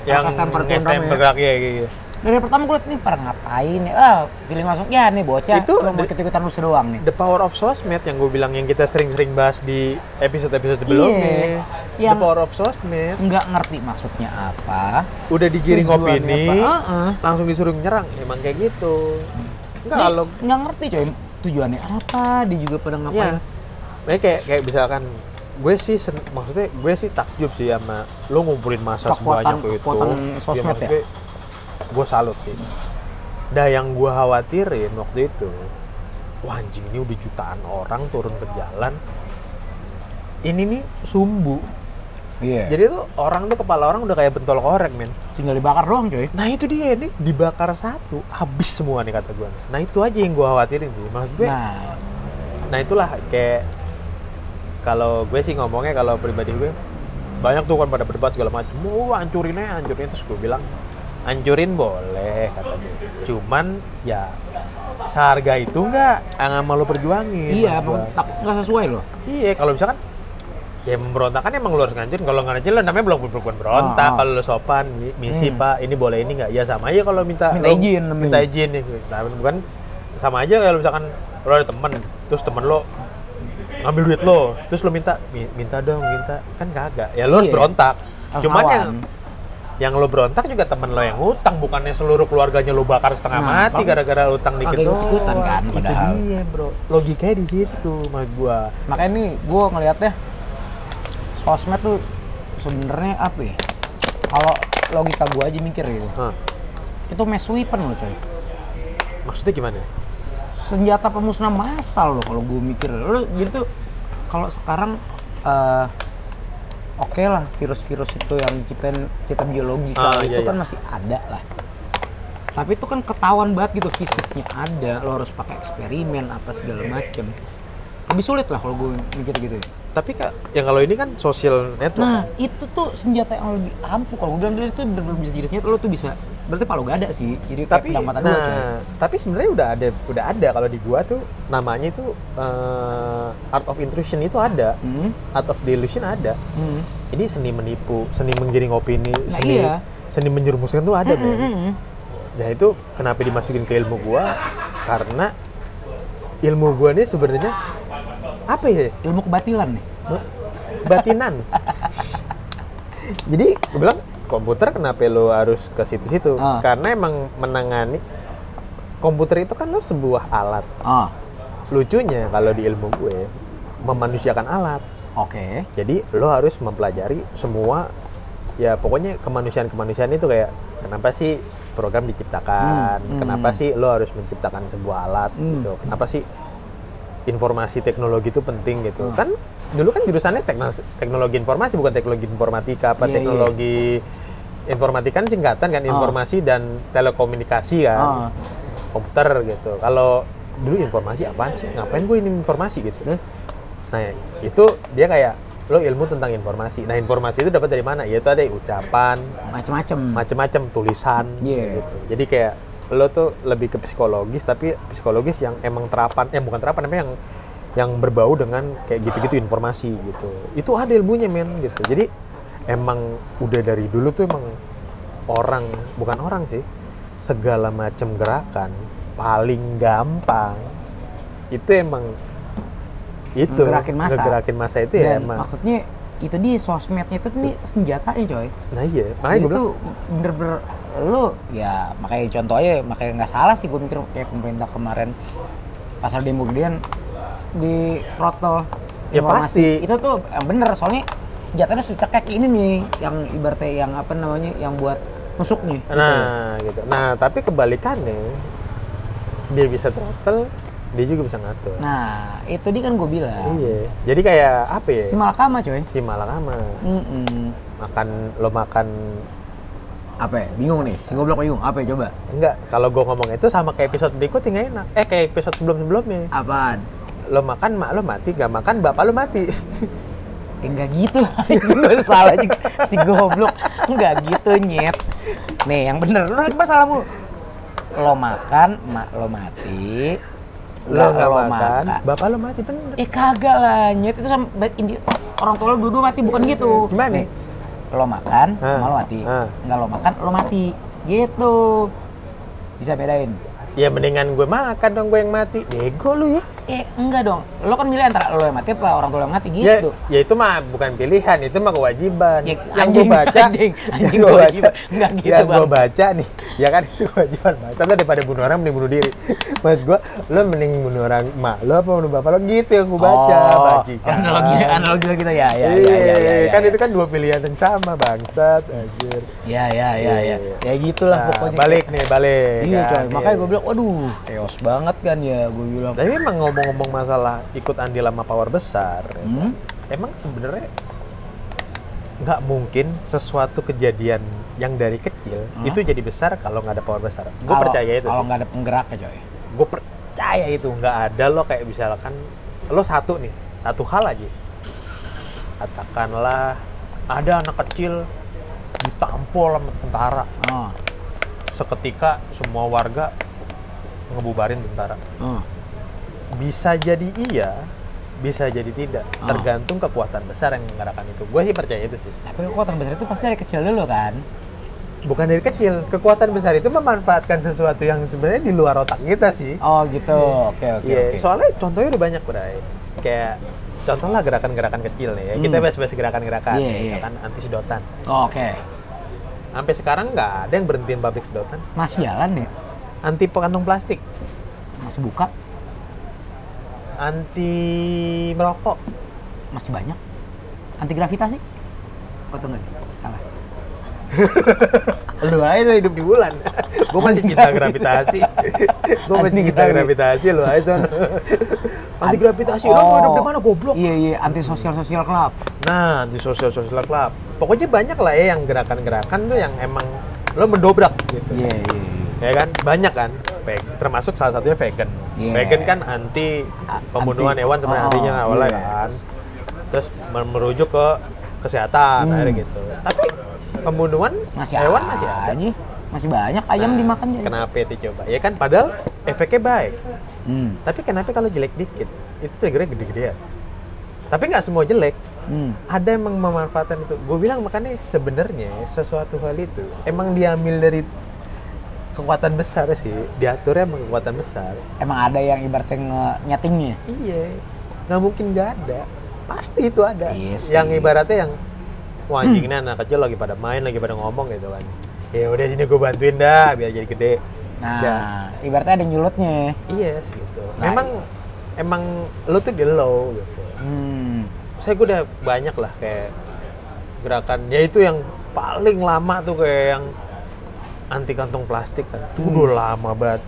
S1: yang
S2: anak STM
S1: STM
S2: Pergundam ya.
S1: bergerak ya gitu.
S2: Dari pertama gue liat nih pada ngapain ya? Ah, feeling masuk ya nih bocah.
S1: Itu
S2: cuma mau
S1: di-
S2: ikut-ikutan lu doang nih.
S1: The power of sosmed yang gue bilang yang kita sering-sering bahas di episode-episode sebelumnya. The
S2: Iya. Yang-
S1: power of sosmed
S2: Nggak ngerti maksudnya apa.
S1: udah digiring
S2: Tujuannya
S1: opini,
S2: apa? Heeh.
S1: langsung disuruh nyerang. Emang kayak gitu. Enggak
S2: Nih,
S1: kalau
S2: nggak ngerti coy tujuannya apa, dia juga pada ngapain.
S1: Iya. Makanya kayak kayak misalkan gue sih sen- maksudnya gue sih takjub sih sama lo ngumpulin masa
S2: Kekuatan-
S1: sebanyak itu. Iya,
S2: kekuatan sosmed ya?
S1: maksud gue- Gue salut sih. Dah yang gue khawatirin waktu itu, wah anjing ini udah jutaan orang turun ke jalan. Ini nih sumbu.
S2: Iya.
S1: Jadi tuh orang tuh kepala orang udah kayak bentol korek men.
S2: Tinggal dibakar doang coy.
S1: Nah itu dia nih dibakar satu habis semua nih kata gue. Nah itu aja yang gue khawatirin sih. Maksud gue
S2: Nah,
S1: nah itulah kayak kalau gue sih ngomongnya kalau pribadi gue banyak tuh kan pada berdebat segala macam wah hancurin aja hancurin terus gue bilang hancurin boleh kata gue cuman ya seharga itu nggak yang sama lo perjuangin
S2: iya,
S1: maksud
S2: pokoknya
S1: gue.
S2: takut nggak sesuai loh.
S1: iya kalau misalkan ya memberontak kan emang lo harus ngancurin kalau nggak ngancurin lo namanya belum bukan berontak
S2: Ah, ah.
S1: kalau lo sopan mi- misi
S2: Hmm.
S1: pak ini boleh ini nggak ya sama aja kalau minta
S2: Minta
S1: lo-
S2: izin
S1: minta
S2: namanya.
S1: izin ya Nah, bukan sama aja kalau misalkan lo ada temen terus temen lo ngambil duit lo terus lo minta "Mi- minta dong minta kan kagak ya lo harus
S2: Iya.
S1: berontak
S2: Harus
S1: cuman
S2: lawan.
S1: yang yang lo berontak juga temen lo yang utang bukannya seluruh keluarganya lo bakar setengah
S2: Nah,
S1: mati
S2: kalau-
S1: gara-gara utang dikit
S2: kagak ikut-ikutan
S1: doang.
S2: kan,
S1: itu
S2: padahal.
S1: dia bro logikanya di situ mas gua
S2: Makanya nih gue ngelihatnya sosmed tuh sebenarnya apa ya? Kalau logika gue aja mikir gitu,
S1: Hah,
S2: itu mass weapon loh coy.
S1: maksudnya gimana
S2: Senjata pemusnah massal loh kalau gue mikir. Lo jadi tuh kalau sekarang eh oke lah virus-virus itu yang ciptain cipta biologi
S1: Ah,
S2: kalau
S1: iya,
S2: itu kan
S1: iya.
S2: masih ada lah. Tapi itu kan ketahuan banget gitu fisiknya ada, lo harus pakai eksperimen apa segala macem. Lebih sulit lah kalau gue mikir gitu ya.
S1: tapi kak yang kalau ini kan social network
S2: Nah, itu tuh senjata yang lebih ampuh. Kalau gue bilang tadi itu bener-bener bisa jadi senjata, lo tuh bisa. Berarti palu gak ada sih. Jadi kayak
S1: tapi
S2: pedang mata
S1: nah
S2: dua, coy.
S1: tapi sebenarnya udah ada udah ada kalau di gua tuh namanya itu eh, art of intrusion itu ada
S2: Hmm,
S1: art of delusion ada
S2: hmm.
S1: ini seni menipu seni menggiring opini
S2: Nah,
S1: seni
S2: iya.
S1: seni menjerumuskan tuh ada
S2: Hmm,
S1: Ben.
S2: hmm, hmm.
S1: Nah itu kenapa dimasukin ke ilmu gua? Karena ilmu gua ini sebenarnya apa ya?
S2: Ilmu kebatilan nih.
S1: Batinan. Jadi gua bilang komputer kenapa lo harus ke situ-situ?
S2: Ah.
S1: Karena emang menangani komputer itu kan lo sebuah alat.
S2: Ah,
S1: Lucunya kalau di ilmu gue memanusiakan alat.
S2: oke.
S1: Jadi lo harus mempelajari semua ya pokoknya kemanusiaan-kemanusiaan itu kayak kenapa sih program diciptakan,
S2: Hmm, hmm.
S1: kenapa sih lo harus menciptakan sebuah alat
S2: Hmm.
S1: gitu, kenapa sih informasi teknologi itu penting gitu
S2: Hmm.
S1: kan dulu kan jurusannya teknologi, teknologi informasi bukan teknologi informatika apa
S2: Iya, Oh. iya.
S1: teknologi informatika kan singkatan kan informasi dan telekomunikasi
S2: Ah.
S1: kan komputer gitu kalau dulu informasi apaan sih ngapain gue ini informasi gitu
S2: Terus?
S1: Nah, itu dia kayak lo ilmu tentang informasi. Nah, informasi itu dapat dari mana? Ya itu ada ucapan,
S2: Macem-macem.
S1: macam-macam tulisan
S2: Iya.
S1: gitu. Jadi kayak lo tuh lebih ke psikologis tapi psikologis yang emang terapan eh bukan terapan namanya yang yang berbau dengan kayak gitu-gitu informasi gitu. Itu ada ilmunya men gitu. Jadi emang udah dari dulu tuh emang orang bukan orang sih segala macam gerakan paling gampang itu emang itu
S2: Ngegerakin massa.
S1: ngegerakin massa itu ya
S2: Dan
S1: emang
S2: maksudnya itu di sosmednya itu nih senjatanya coy.
S1: nah iya makanya
S2: Jadi
S1: gue bilang
S2: tuh bener-bener lo ya makanya contoh aja makanya nggak salah sih gue mikir kayak pemerintah kemarin pasar demo gedean di throttle
S1: Ya,
S2: informasi.
S1: pasti.
S2: itu tuh yang bener soalnya senjatanya sudah cekek ini nih yang ibaratnya yang apa namanya yang buat nusuk nih gitu.
S1: Nah, gitu. Nah, tapi kebalikannya dia bisa throttle, dia juga bisa ngatur.
S2: nah itu dia kan gue bilang
S1: Iya. Jadi kayak apa ya?
S2: si malakama coy
S1: Si malakama.
S2: Mm-mm.
S1: Makan lo makan
S2: apa ya? bingung nih si goblok bingung apa ya coba
S1: enggak kalau gue ngomong itu sama kayak episode berikutnya nggak enak eh kayak episode sebelum sebelumnya
S2: apaan
S1: lo makan mak lo mati gak makan bapak lo mati
S2: Ya, Enggak gitu lah, Lu salah juga. si goblok. Enggak gitu, nyet. Nih, yang bener, lu lagi masalah mulu. Lo makan, mak lo mati.
S1: Lo
S2: Nggak
S1: nggak
S2: lo
S1: makan,
S2: makan.
S1: bapak lo mati bener.
S2: Ih kagak lah, nyet itu sama ba- ini orang tua lo dua-dua mati bukan gitu.
S1: Iya. Gimana?
S2: Nih, Lo makan,
S1: Ah,
S2: sama lo mati.
S1: ah.
S2: Enggak lo makan, lo mati. Gitu. Bisa bedain.
S1: Ya mendingan gue makan dong gue yang mati. Bego lu ya.
S2: Eh, enggak dong. Lo kan milih antara lo yang mati apa orang tua lo yang mati
S1: Ya,
S2: gitu.
S1: ya itu mah bukan pilihan, itu mah kewajiban.
S2: Ya,
S1: yang
S2: anjing,
S1: gue baca,
S2: anjing, anjing
S1: yang gue baca,
S2: kewajiban. Nggak gitu,
S1: yang gue
S2: Bang.
S1: baca nih, ya kan itu kewajiban. Bang. Tapi daripada bunuh orang, mending bunuh diri. Maksud gue, lo mending bunuh orang mak lo apa bunuh bapak lo gitu yang gue baca.
S2: Oh,
S1: bajikan.
S2: Analogi analogi lo gitu ya, ya,
S1: Iya,
S2: ya, ya, ya,
S1: kan
S2: ya.
S1: itu kan dua pilihan yang sama bangsat anjir.
S2: Ya, ya, ya, ya.
S1: Iya.
S2: Ya gitulah
S1: Nah,
S2: pokoknya.
S1: balik nih, balik.
S2: Iya, coy.
S1: kan,
S2: Makanya
S1: iya.
S2: gue bilang, waduh, chaos banget kan ya. Gue bilang,
S1: Tapi emang ngomong-ngomong masalah ikut andil sama power besar, ya kan?
S2: hmm?
S1: emang sebenarnya nggak mungkin sesuatu kejadian yang dari kecil
S2: Hmm?
S1: itu jadi besar kalau nggak ada power besar. Gue
S2: kalau-
S1: percaya itu.
S2: Kalau nggak ada penggeraknya, coy.
S1: Gue percaya itu nggak ada lo kayak misalkan lo satu nih satu hal aja. Katakanlah ada anak kecil ditampol sama tentara.
S2: Oh,
S1: Seketika semua warga ngebubarin tentara.
S2: oh.
S1: bisa jadi iya bisa jadi tidak
S2: Ah.
S1: tergantung kekuatan besar yang menggerakkan itu gue sih percaya itu sih
S2: Tapi kekuatan besar itu pasti dari kecil dulu kan?
S1: bukan dari kecil kekuatan besar itu memanfaatkan sesuatu yang sebenarnya di luar otak kita sih
S2: Oh gitu, oke oke
S1: Iya,
S2: oke.
S1: soalnya contohnya udah banyak Bray. Kayak contohlah gerakan-gerakan kecil nih ya kita
S2: Hmm.
S1: bahas-bahas gerakan-gerakan
S2: Iya,
S1: ya
S2: iya.
S1: kan anti sedotan
S2: Oh, Oke,
S1: sampai sekarang nggak ada yang berhentiin pabrik sedotan
S2: masih jalan ya?
S1: anti kantong plastik
S2: Masih buka?
S1: anti merokok
S2: Masih banyak? Anti gravitasi? Oh tunggu, salah.
S1: lu aja lu hidup di bulan gue masih cinta gravitasi gue masih
S2: Anti
S1: cinta
S2: gravi-
S1: gravitasi lu aja sono anti gravitasi
S2: An-
S1: orang mau hidup
S2: oh.
S1: di mana goblok
S2: Iya iya, anti sosial sosial club.
S1: nah di sosial sosial club pokoknya banyak lah ya yang gerakan-gerakan tuh yang emang lo mendobrak gitu
S2: Iya iya. iya.
S1: ya kan banyak kan Ve- termasuk salah satunya vegan
S2: Iya.
S1: vegan kan anti
S2: A-
S1: pembunuhan
S2: anti-
S1: hewan sebenarnya
S2: oh,
S1: antinya awalnya
S2: iya.
S1: kan terus mer- merujuk ke kesehatan
S2: Hmm.
S1: akhirnya gitu tapi pembunuhan
S2: Masih
S1: hewan masih ada
S2: aja. Masih banyak ayam
S1: Nah,
S2: dimakan jadi.
S1: Kenapa itu coba? Ya kan padahal efeknya baik.
S2: Hmm.
S1: Tapi kenapa kalau jelek dikit? Itu triggernya gede-gedean. Tapi nggak semua jelek.
S2: Hmm.
S1: Ada emang memanfaatkan itu. Gue bilang makanya sebenarnya sesuatu hal itu emang diambil dari kekuatan besar sih. Diaturnya emang kekuatan besar.
S2: Emang ada yang ibaratnya nge- nyetingnya?
S1: Iya. Nggak mungkin nggak ada. Pasti itu ada.
S2: Iya sih.
S1: yang ibaratnya yang Wah anjing ini anak kecil lagi pada main, lagi pada ngomong gitu kan. Ya udah sini gue bantuin dah biar jadi gede.
S2: Nah,
S1: Ya.
S2: ibaratnya ada nyulutnya.
S1: Iya sih, gitu.
S2: Nah,
S1: Memang emang lu tuh di low gitu.
S2: Hmm.
S1: Saya gue udah banyak lah kayak gerakan. Ya itu yang paling lama tuh kayak yang anti kantong plastik kan. Itu udah lama banget.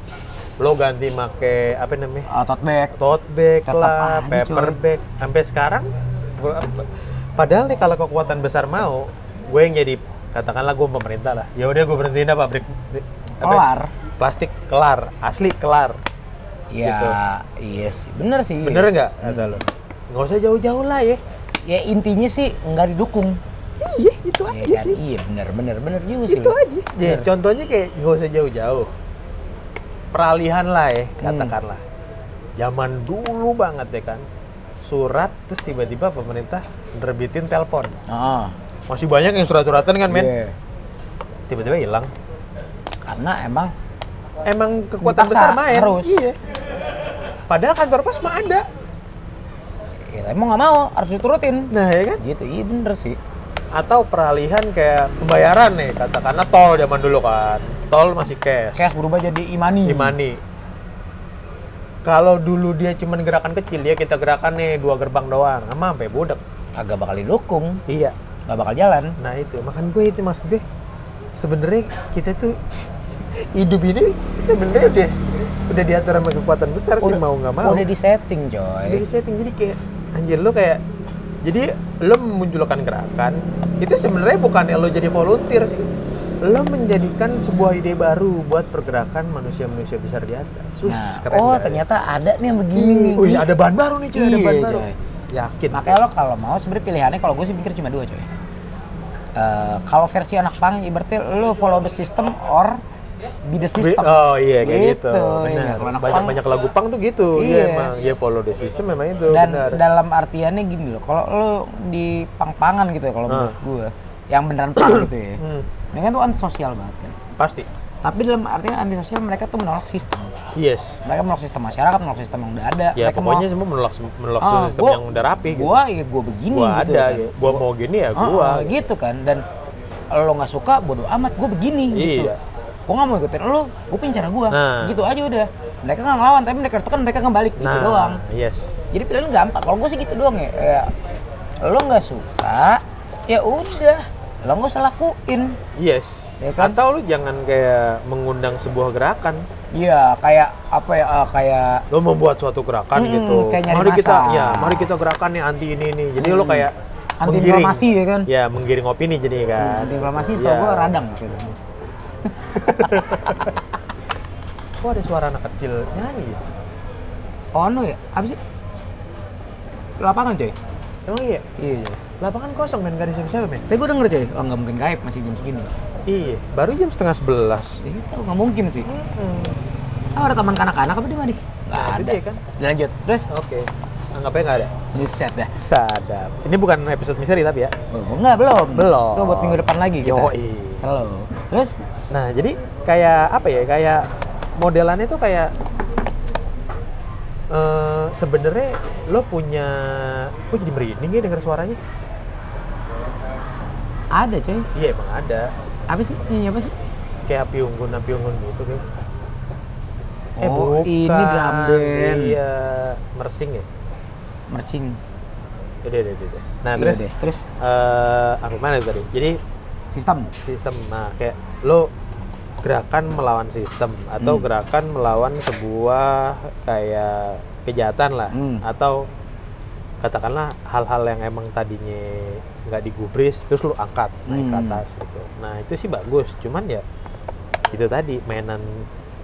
S1: Lo ganti make apa namanya?
S2: Uh, tote bag.
S1: tote bag
S2: Tetap
S1: lah,
S2: aja,
S1: paper
S2: coy.
S1: bag. Sampai sekarang gua- padahal nih kalau kekuatan besar mau, gue yang jadi katakanlah gue pemerintah lah. Ya udah gue berhentiin dah pabrik apa- ya,
S2: Kelar.
S1: plastik kelar, asli kelar.
S2: Ya,
S1: Gitu.
S2: iya sih. Bener sih. Hmm.
S1: Bener nggak kata lo? Nggak usah jauh-jauh lah ya.
S2: Ya intinya sih nggak didukung.
S1: Iya, itu
S2: Iya
S1: aja
S2: kan?
S1: sih.
S2: Iya bener bener bener juga sih.
S1: Itu
S2: lu.
S1: aja. Ya, contohnya kayak nggak usah jauh-jauh. Peralihan lah ya, katakanlah. Zaman dulu banget ya kan. Surat terus tiba-tiba pemerintah nerbitin telepon.
S2: Ah,
S1: Masih banyak yang surat-suratan kan, men?
S2: iya.
S1: Tiba-tiba hilang.
S2: Karena emang
S1: Emang kekuatan
S2: Dipaksa,
S1: besar main.
S2: harus.
S1: Iya. Padahal kantor pos mah ada.
S2: ya emang nggak mau harus diturutin.
S1: Nah, ya kan?
S2: Gitu, iya bener sih.
S1: Atau peralihan kayak pembayaran nih, katakanlah tol zaman dulu kan. Tol masih cash.
S2: Cash berubah jadi imani.
S1: Imani. Kalau dulu dia cuman gerakan kecil ya kita gerakan nih dua gerbang doang, sama sampai budek.
S2: Agak bakal didukung,
S1: Iya.
S2: nggak bakal jalan.
S1: Nah itu makan gue itu maksudnya sebenarnya kita tuh hidup ini sebenarnya udah udah diatur sama kekuatan besar sih mau nggak mau.
S2: Udah di setting
S1: Udah
S2: coy.
S1: di setting jadi kayak anjir lo kayak jadi lo memunculkan gerakan itu sebenarnya bukannya lo jadi volunteer sih lo menjadikan sebuah ide baru buat pergerakan manusia-manusia besar di atas. Sus,
S2: Nah,
S1: keren
S2: oh
S1: banget.
S2: ternyata ada nih yang begini.
S1: Ih, Wih, ada bahan baru nih cuy, ada
S2: Hmm. Iya,
S1: bahan baru.
S2: coy.
S1: Yakin.
S2: Makanya lo kalau mau sebenarnya pilihannya kalau gue sih pikir cuma dua coy. Eh, kalau versi anak pang ibaratnya lo follow the system or be the
S1: Bi-
S2: system.
S1: Oh iya kayak gitu. Benar.
S2: iya. Kalau anak punk,
S1: Banyak-banyak lagu punk tuh gitu. Iya
S2: Iya.
S1: emang. Ya follow the system memang itu.
S2: dan
S1: benar.
S2: dalam artiannya gini loh kalau lo di pang-pangan gitu ya kalau menurut gue yang beneran pang gitu
S1: Ah.
S2: ya
S1: Hmm,
S2: ini kan tuh antisosial banget kan
S1: pasti.
S2: tapi dalam artian antisosial mereka tuh menolak sistem
S1: Yes.
S2: mereka menolak sistem masyarakat menolak sistem yang udah ada
S1: Ya
S2: mereka
S1: pokoknya semua menolak menolak
S2: Ah,
S1: sistem
S2: gua-
S1: yang udah rapi gitu.
S2: gua ya gua begini
S1: gua
S2: gitu
S1: ada,
S2: kan.
S1: gitu. gua mau gini ya
S2: Ah,
S1: gua.
S2: ah, gitu kan dan lo nggak suka bodo amat gua begini gitu
S1: Iya.
S2: gua nggak mau ikutin lo gua punya cara gua
S1: Nah.
S2: gitu aja udah mereka nggak ngelawan tapi mereka tekan mereka ngebalik
S1: Nah,
S2: gitu doang
S1: yes.
S2: jadi pilihan gampang kalau gue sih gitu doang ya ya, lo nggak suka ya udah lo nggak usah lakuin
S1: Yes.
S2: Ya kan?
S1: Atau lu jangan kayak mengundang sebuah gerakan.
S2: iya kayak apa ya eh, kayak
S1: Lu membuat suatu gerakan
S2: Hmm,
S1: gitu.
S2: kayak nyari
S1: mari
S2: masa.
S1: kita ya, mari kita gerakan nih anti ini ini. Jadi lu kayak
S2: Anti
S1: menggiring.
S2: informasi ya kan? Mm,
S1: Ya, menggiring opini jadi kan.
S2: anti inflamasi
S1: Gitu.
S2: eh, setahu
S1: Ya.
S2: gue radang gitu
S1: Kok ada suara anak kecil nyanyi ya?
S2: oh no ya apa sih lapangan coy
S1: Emang iya?
S2: iya coy.
S1: Lapangan kosong men, gak ada siapa-siapa men?
S2: tapi gue denger coy oh nggak mungkin gaib masih jam segini
S1: Iya, baru jam setengah sebelas
S2: Iya, tahu nggak mungkin sih oh, ada taman kanak-kanak apa di mana nggak
S1: Nah, itu
S2: ada
S1: dia kan.
S2: lanjut terus
S1: Oke, anggapnya nggak ada
S2: newset dah
S1: Sadap Ini bukan episode misteri tapi ya
S2: oh, enggak belum
S1: Belum.
S2: itu buat minggu depan lagi kita
S1: Yoi.
S2: selalu terus
S1: Nah, jadi kayak apa ya, kayak modelannya tuh kayak eh sebenarnya lo punya kok jadi merinding ya denger suaranya
S2: ada coy
S1: iya emang ada
S2: apa sih ini apa sih
S1: kayak api unggun api unggun gitu kan Eh,
S2: Oh, ini drum band.
S1: iya mersing ya
S2: mercing
S1: udah udah udah, udah nah
S2: Iya
S1: terus
S2: deh. terus
S1: eh apa mana tadi jadi
S2: sistem
S1: sistem nah kayak lo gerakan melawan sistem atau
S2: Hmm.
S1: gerakan melawan sebuah kayak kejahatan lah
S2: Hmm.
S1: atau katakanlah hal-hal yang emang tadinya nggak digubris terus lo angkat naik ke
S2: Hmm.
S1: atas gitu nah itu sih bagus cuman ya itu tadi mainan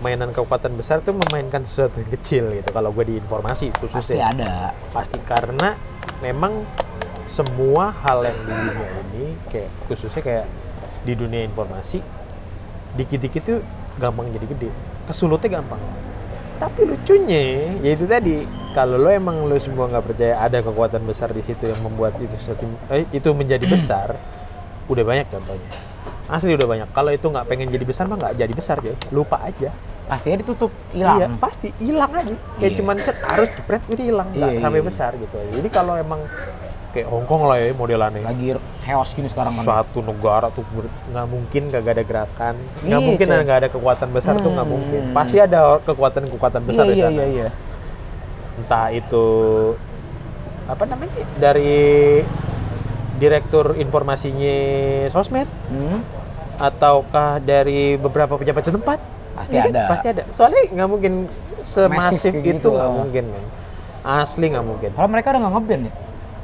S1: mainan kekuatan besar tuh memainkan sesuatu yang kecil gitu kalau gue di informasi
S2: pasti
S1: khususnya
S2: ada
S1: pasti karena memang semua hal yang di dunia ini kayak khususnya kayak di dunia informasi dikit-dikit tuh gampang jadi gede kesulutnya gampang tapi lucunya yaitu tadi kalau lo emang lo semua nggak percaya ada kekuatan besar di situ yang membuat itu sesuatu eh, itu menjadi besar udah banyak contohnya asli udah banyak kalau itu nggak pengen jadi besar mah nggak jadi besar ya lupa aja
S2: pastinya ditutup
S1: Iya,
S2: hilang
S1: pasti hilang aja. Kayak
S2: Iya.
S1: cuman cet harus jepret udah hilang nggak
S2: Iya,
S1: sampai
S2: iya.
S1: besar gitu. Jadi kalau emang kayak Hongkong lah ya modelannya.
S2: lagi chaos gini sekarang kan
S1: Suatu negara tuh ber- nggak mungkin gak ada gerakan, nggak
S2: Iya,
S1: mungkin
S2: coy.
S1: nggak ada kekuatan besar tuh nggak
S2: Hmm.
S1: mungkin. Pasti ada kekuatan-kekuatan
S2: iya
S1: besar di
S2: iya
S1: sana.
S2: iya iya
S1: Entah itu apa namanya dari direktur informasinya sosmed
S2: hmm,
S1: ataukah dari beberapa pejabat setempat
S2: Pasti
S1: Iya kan?
S2: ada.
S1: pasti ada soalnya nggak mungkin semasif
S2: Masif kayak
S1: itu
S2: gitu.
S1: nggak mungkin men. asli nggak mungkin
S2: kalau mereka udah nggak ngeband ya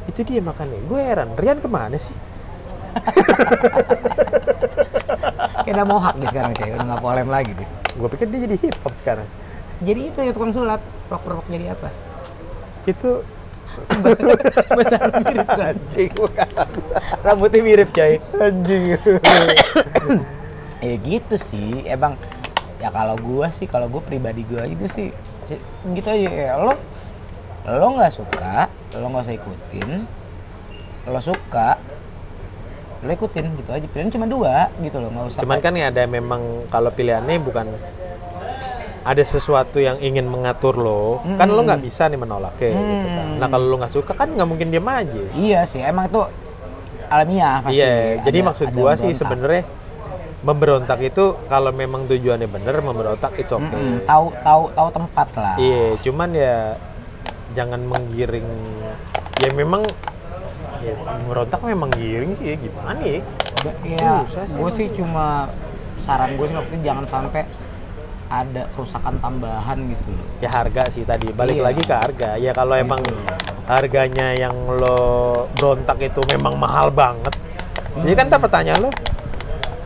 S1: itu dia makanya gue heran Rian kemana sih
S2: kayak udah mohak nih sekarang coy udah nggak polem lagi deh
S1: gue pikir dia jadi hip hop sekarang
S2: jadi itu ya tukang sulap rock rock jadi apa
S1: itu
S2: Betul mirip kan
S1: anjing bukan
S2: rambutnya mirip coy
S1: anjing
S2: ya gitu sih emang ya kalau gua sih kalau gua pribadi gua itu sih sih, gitu aja ya lo lo nggak suka lo nggak usah ikutin lo suka lo ikutin gitu aja pilihan cuma dua gitu lo nggak usah
S1: cuman kan ya ada memang kalau pilihannya bukan ada sesuatu yang ingin mengatur lo kan lo nggak bisa nih menolak ya gitu kan nah kalau lo nggak suka kan nggak mungkin diem aja
S2: iya sih emang itu alamiah pasti
S1: Iya, jadi
S2: Ada-
S1: maksud
S2: ada
S1: gua sih
S2: berontak.
S1: sebenarnya memberontak itu kalau memang tujuannya bener memberontak it's okay.
S2: Mm-mm, tahu tahu tahu tempat lah
S1: Iya, cuman ya jangan menggiring. Ya memang ya, memberontak memang giring sih ya, gimana ya?
S2: Ba- Iya,
S1: Susah sih ya.
S2: gue sih cuma saran gue sih waktu itu jangan sampai ada kerusakan tambahan gitu loh.
S1: Ya harga sih tadi balik
S2: Iya.
S1: lagi ke harga. Ya kalau emang harganya yang lo berontak itu memang mahal banget. Jadi kan tak ya pertanyaan lo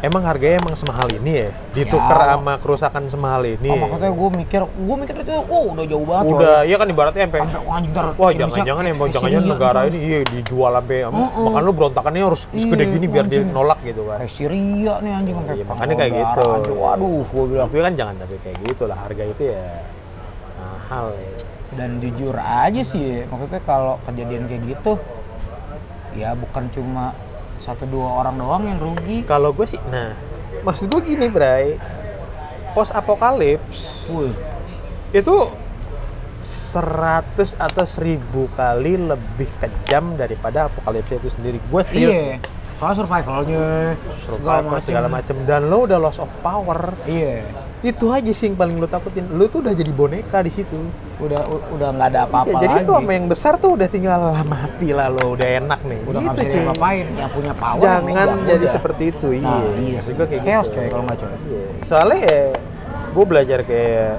S1: Emang harganya emang semahal ini ya? Ditukar
S2: Ya.
S1: sama kerusakan semahal ini.
S2: Oh, makanya gue mikir, gue mikir itu, oh udah jauh banget.
S1: Iya. Udah, iya kan ibaratnya sampai
S2: coy. Sampai wah, anjing, ntar
S1: Wah,
S2: Indonesia
S1: jangan-jangan
S2: kayak
S1: emang jangan-jangan
S2: Syria gitu.
S1: negara
S2: ntar.
S1: ini iya dijual sampai
S2: Heeh.
S1: makan lu berontakannya harus segede
S2: Iya,
S1: gini biar dia
S2: anjing.
S1: nolak gitu kan.
S2: Kayak Syria nih anjing sampai
S1: Iya, makanya kayak
S2: penggal
S1: gitu.
S2: darah, anjing. Waduh, gue bilang
S1: Tapi kan jangan sampai kayak gitu lah. Harga itu ya mahal ya.
S2: dan jujur aja sih maksudnya kalau kejadian kayak gitu ya bukan cuma satu dua orang doang yang rugi
S1: Kalau gue sih, nah maksud gue gini, Bray. Post apokalips
S2: Wih,
S1: itu 100 atau 1000 kali lebih kejam daripada apokalipsi itu sendiri. Gue
S2: iya soal survivalnya segala macam
S1: segala macam dan lo udah loss of power.
S2: iya
S1: Itu aja sih yang paling lo takutin. Lo tuh udah jadi boneka di situ.
S2: udah u- udah nggak ada apa-apa
S1: Iya, jadi
S2: lagi
S1: itu sama yang besar tuh udah tinggal lah mati lah lo udah enak nih. Gitu,
S2: udah nggak bisa
S1: cuy.
S2: diapa-apain yang punya power
S1: Jangan
S2: yang megang,
S1: jadi
S2: udah.
S1: seperti itu.
S2: Nah,
S1: iya.
S2: iya
S1: Maksud
S2: sih.
S1: gua kayak
S2: Chaos,
S1: gitu.
S2: coy, kalau nggak, coy.
S1: Iya. Soalnya ya, gue belajar kayak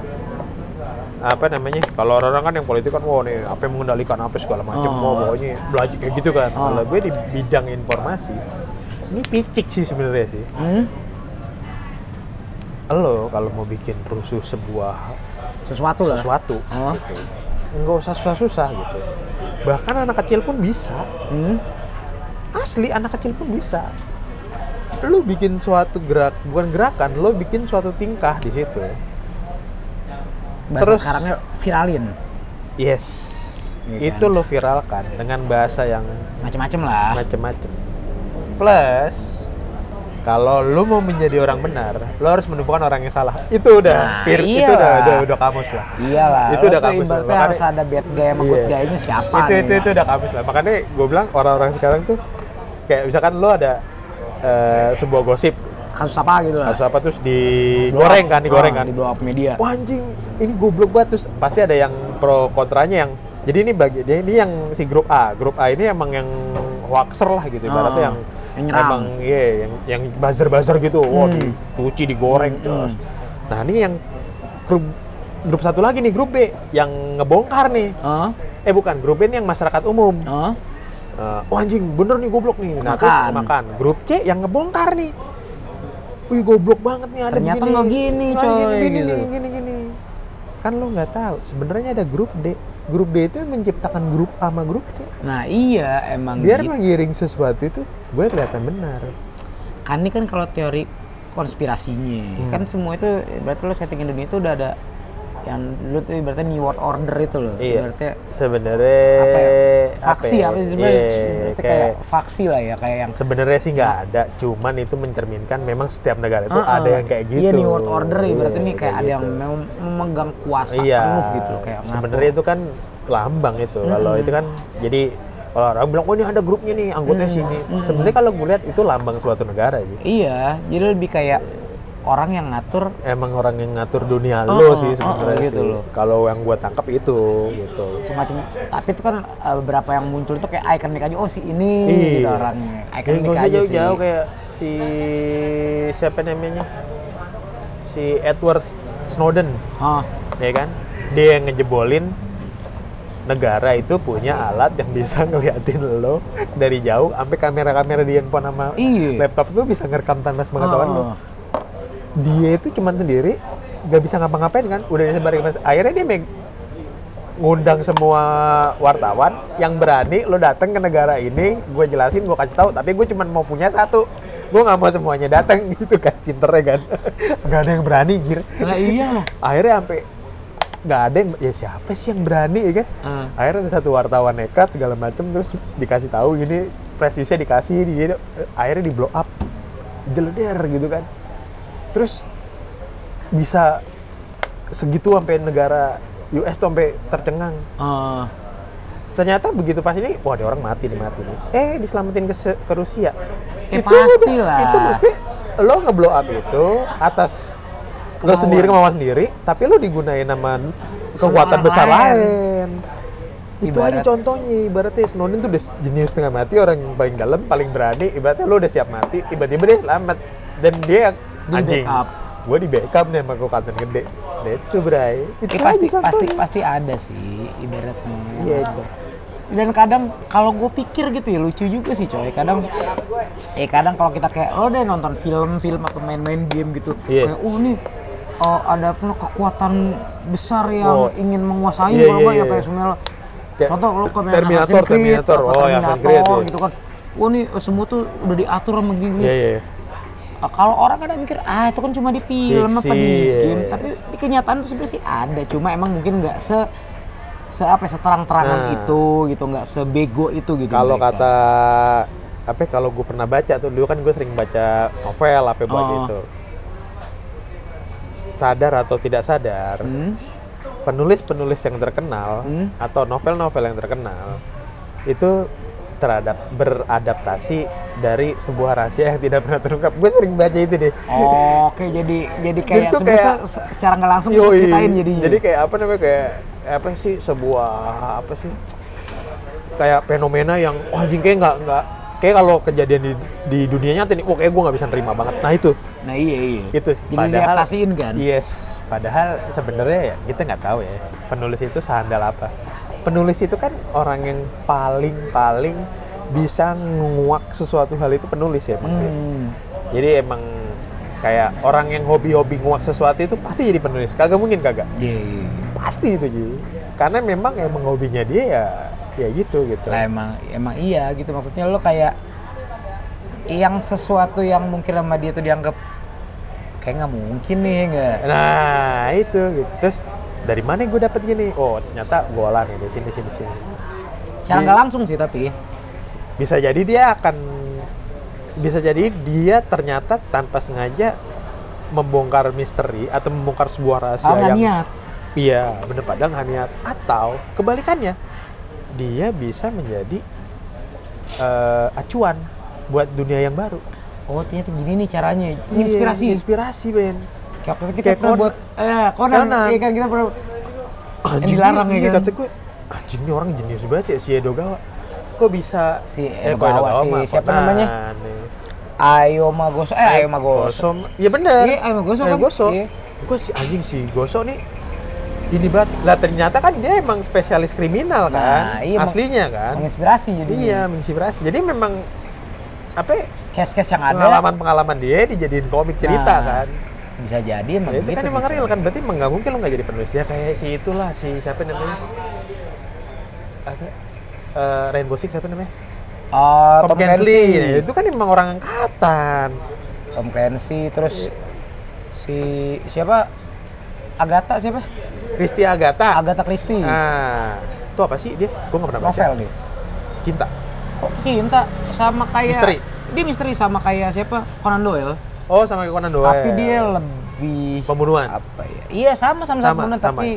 S1: apa namanya kalau orang-orang kan yang politik kan wah nih apa yang mengendalikan apa segala macam
S2: Oh.
S1: wah pokoknya belajar kayak gitu kan
S2: Oh.
S1: kalau gue di bidang informasi ini picik sih sebenarnya sih
S2: Hmm?
S1: lo kalau mau bikin rusuh sebuah
S2: sesuatu lah
S1: sesuatu
S2: Hah?
S1: gitu, nggak usah susah-susah gitu bahkan anak kecil pun bisa
S2: Hmm?
S1: asli anak kecil pun bisa lu bikin suatu gerak bukan gerakan lu bikin suatu tingkah di situ
S2: Bahasa
S1: Terus-
S2: sekarangnya viralin
S1: yes
S2: Iya
S1: itu
S2: kan?
S1: lu viralkan dengan bahasa yang
S2: macam-macam lah
S1: macem-macem plus kalau lu mau menjadi orang benar lu harus menemukan orang yang salah itu udah
S2: Nah,
S1: pir- itu
S2: iyalah.
S1: udah udah, udah kamus lah
S2: iyalah
S1: Itu
S2: lo
S1: udah
S2: tuh
S1: kampus,
S2: ibaratnya
S1: makanya-
S2: harus ada bad guy sama good
S1: Iya.
S2: guy-nya siapa
S1: itu
S2: nih
S1: itu itu udah kamis lah makanya gue bilang orang-orang sekarang tuh kayak misalkan lo ada eh, sebuah gosip
S2: kasus apa gitu lah
S1: atau apa terus digoreng kan digoreng
S2: Ah,
S1: kan
S2: di blow up media
S1: wah anjing ini goblok banget terus pasti ada yang pro kontranya yang jadi ini bagi dia ini yang si grup A grup A ini emang yang hoaxer lah gitu ibaratnya
S2: Ah,
S1: yang
S2: yang nyerang.
S1: emang iya yang yang buzzer buzzer gitu wah
S2: Hmm.
S1: dicuci digoreng terus nah ini yang grup grup satu lagi nih grup B yang ngebongkar nih
S2: Hah?
S1: eh bukan grup B ini yang masyarakat umum
S2: Hah?
S1: Eh, wah anjing bener nih goblok nih. Nah terus
S2: Makan.
S1: makan. Grup C yang ngebongkar nih. Wih goblok banget nih ada
S2: Ternyata
S1: begini.
S2: nggak gini,
S1: Nggak
S2: coy,
S1: Gini, gini,
S2: gitu.
S1: nih, gini, gini. Kan lo nggak tahu. Sebenarnya ada grup D. Grup D itu yang menciptakan grup A sama grup C.
S2: nah iya emang
S1: Biar
S2: gitu.
S1: mengiring sesuatu itu gue kelihatan benar.
S2: kan ini kan kalau teori konspirasinya
S1: Hmm.
S2: kan semua itu berarti lo setting dunia itu udah ada yang dulu tuh berarti new world order itu loh
S1: Iya.
S2: berarti
S1: Sebenarnya
S2: Iya. apa ya, faksi apa sih sebenarnya
S1: Iya,
S2: Berarti kayak faksi lah ya kayak yang
S1: sebenarnya sih nggak ada cuman itu mencerminkan memang setiap negara itu
S2: Ah,
S1: ada
S2: ah.
S1: yang kayak gitu
S2: iya new world order ya berarti
S1: Iya,
S2: nih kayak ada yang
S1: gitu.
S2: mem- memegang kuasa
S1: iya,
S2: penuh gitu loh, kayak ngatur.
S1: sebenarnya itu kan lambang itu kalau itu kan jadi kalau orang bilang oh ini ada grupnya nih anggotanya sini sebenarnya kalau gue lihat itu lambang suatu negara sih
S2: iya jadi lebih kayak orang yang ngatur
S1: emang orang yang ngatur dunia
S2: Oh,
S1: lo
S2: oh,
S1: sih
S2: oh,
S1: sebenarnya
S2: oh, gitu
S1: sih.
S2: loh.
S1: kalau yang gue tangkap itu gitu
S2: semacam tapi itu kan eh, beberapa yang muncul tuh kayak ikonik aja oh si ini gitu
S1: Iya.
S2: orangnya
S1: Jadi
S2: ikonik
S1: nggak
S2: aja
S1: usah
S2: sih
S1: jauh-jauh kayak si siapa namanya si Edward Snowden
S2: Ah,
S1: ya kan dia yang ngejebolin negara itu punya alat yang bisa ngeliatin lo dari jauh sampai kamera-kamera di handphone sama
S2: Iya.
S1: laptop tuh bisa ngerekam tanpa sepengetahuan lo
S2: Ah.
S1: dia itu cuman sendiri nggak bisa ngapa-ngapain kan udah disebar ke akhirnya dia meg- ngundang semua wartawan yang berani lo datang ke negara ini gue jelasin gue kasih tahu tapi gue cuman mau punya satu gue nggak mau semuanya datang gitu kan pinternya kan nggak ada yang berani jir
S2: Nah, iya.
S1: akhirnya sampai nggak ada yang ya siapa sih yang berani ya kan
S2: Hmm.
S1: akhirnya ada satu wartawan nekat segala macem terus dikasih tahu gini prestisnya dikasih dia akhirnya di blow up jeleder gitu kan terus bisa segitu sampai negara US tuh sampai tercengang Oh.
S2: Ah,
S1: ternyata begitu pas ini wah ada orang mati nih mati nih eh diselamatin ke, se- ke Rusia
S2: Ya,
S1: udah-
S2: pastilah.
S1: itu mesti lo ngeblow up itu atas lo
S2: Kemauan.
S1: sendiri kemauan sendiri tapi lo digunain sama kekuatan
S2: orang
S1: besar
S2: lain.
S1: lain, itu
S2: Ibarat-
S1: aja contohnya ibaratnya Snowden tuh udah jenius tengah mati orang yang paling dalam paling berani ibaratnya lo udah siap mati tiba-tiba dia selamat dan dia
S2: Di
S1: anjing
S2: backup.
S1: gue di backup nih sama kekuatan gede Nah, itu bray itu aja
S2: eh, pasti pasti
S1: contohnya.
S2: pasti ada sih ibaratnya.
S1: Iya,
S2: Ah.
S1: itu.
S2: dan kadang kalau gue pikir gitu ya lucu juga sih coy kadang eh kadang kalau kita kayak lo deh nonton film-film atau main-main game gitu
S1: Iya.
S2: kayak oh nih oh, ada penuh kekuatan besar yang
S1: Oh.
S2: ingin menguasai
S1: Iya,
S2: kalau
S1: iya,
S2: nggak ya
S1: iya.
S2: kayak sebenarnya
S1: Kayak
S2: contoh lo ke main
S1: Terminator,
S2: Assassin's Creed
S1: Terminator.
S2: atau
S1: Oh, ya, Assassin's
S2: Terminator
S1: Creed, iya.
S2: gitu kan wah nih semua tuh udah diatur sama gini
S1: Iya, iya.
S2: Ah, kalau orang kadang mikir ah itu kan cuma di film
S1: Fiksi,
S2: apa di
S1: iya,
S2: game
S1: iya.
S2: tapi di kenyataan tuh sebenarnya sih ada cuma emang mungkin nggak se se apa ya, seterang-terangan
S1: Nah.
S2: itu gitu nggak sebego itu gitu
S1: Kalau
S2: mereka.
S1: kata apa ya, kalau gue pernah baca tuh dulu kan gue sering baca novel apa buat
S2: Oh.
S1: itu. Sadar atau tidak sadar,
S2: Hmm?
S1: penulis-penulis yang terkenal
S2: Hmm.
S1: atau novel-novel yang terkenal itu terhadap beradaptasi dari sebuah rahasia yang tidak pernah terungkap. Gue sering baca itu deh.
S2: Oh, oke jadi jadi kayak
S1: tuh
S2: sebenarnya
S1: kayak-
S2: tuh se- secara nggak langsung
S1: Yoi.
S2: ceritain jadinya.
S1: Jadi kayak apa namanya kayak apa sih sebuah apa sih kayak fenomena yang wah anjing kayak nggak nggak kayak kalau kejadian di, di dunia nyata nih, wah kayak gue nggak bisa nerima banget. Nah itu,
S2: nah iya iya.
S1: itu gitu sih. iya.
S2: Jadi diadaptasiin kan.
S1: Yes, padahal sebenarnya ya kita nggak tahu ya penulis itu sehandal apa. Penulis itu kan orang yang paling paling bisa nguak sesuatu hal itu penulis ya. Pak.
S2: Hmm.
S1: Jadi emang kayak orang yang hobi-hobi nguak sesuatu itu pasti jadi penulis. Kagak mungkin kagak
S2: Iya iya. iya.
S1: pasti itu Ji karena memang emang hobinya dia ya ya gitu gitu
S2: Lah emang emang iya gitu maksudnya lo kayak yang sesuatu yang mungkin sama dia tuh dianggap kayak nggak mungkin nih nggak
S1: nah itu gitu terus dari mana gue dapet gini oh ternyata bola nih di sini sini sini
S2: secara
S1: Iya.
S2: nggak langsung sih tapi
S1: bisa jadi dia akan bisa jadi dia ternyata tanpa sengaja membongkar misteri atau membongkar sebuah rahasia
S2: oh nggak
S1: yang
S2: niat
S1: iya bener padang nggak niat atau kebalikannya dia bisa menjadi eh, acuan buat dunia yang baru
S2: oh ternyata gini nih caranya inspirasi
S1: Iya, inspirasi Ben
S2: kayak waktu itu kita
S1: Kayak
S2: pernah
S1: Conan.
S2: buat eh Conan,
S1: Conan.
S2: iya kan kita pernah
S1: anjing
S2: dilarang,
S1: nih,
S2: ya
S1: iya,
S2: kan?
S1: kata gue anjing nih orang jenius banget ya si Edogawa kok bisa
S2: Si
S1: Eh, kok
S2: Edogawa, si
S1: mah,
S2: siapa
S1: Conan,
S2: namanya?
S1: nih.
S2: Ayo Magoso eh Ayo Magoso
S1: Gosom ya bener
S2: Iya, Ayo Magoso kan?
S1: Magoso.
S2: Iya.
S1: gue si anjing si Goso nih ini banget lah ternyata kan dia emang spesialis kriminal kan
S2: Nah, iya, Mak.
S1: aslinya kan
S2: menginspirasi jadi
S1: iya menginspirasi jadi memang apa ya,
S2: case-case yang ada
S1: pengalaman-pengalaman dia dijadiin komik cerita
S2: Nah,
S1: kan
S2: bisa jadi emang
S1: Ya, itu
S2: gitu
S1: kan
S2: sih,
S1: emang
S2: coy.
S1: real kan berarti emang nggak mungkin lo nggak jadi penulis ya kayak si itulah si siapa namanya apa Eh, Rainbow Six siapa namanya
S2: Oh,
S1: Tom, Clancy Ya, itu kan emang orang angkatan
S2: Tom Clancy terus
S1: Iya.
S2: si siapa Agatha siapa
S1: Christy Agatha
S2: Agatha Christie
S1: nah itu apa sih dia gue nggak pernah baca
S2: novel dia
S1: cinta
S2: kok cinta sama kayak
S1: Misteri.
S2: dia misteri sama kayak siapa Conan Doyle
S1: oh sama kayak Conan Doyle
S2: tapi dia lebih
S1: pembunuhan
S2: apa ya iya sama sama
S1: Sama,
S2: sama, Conan,
S1: sama.
S2: tapi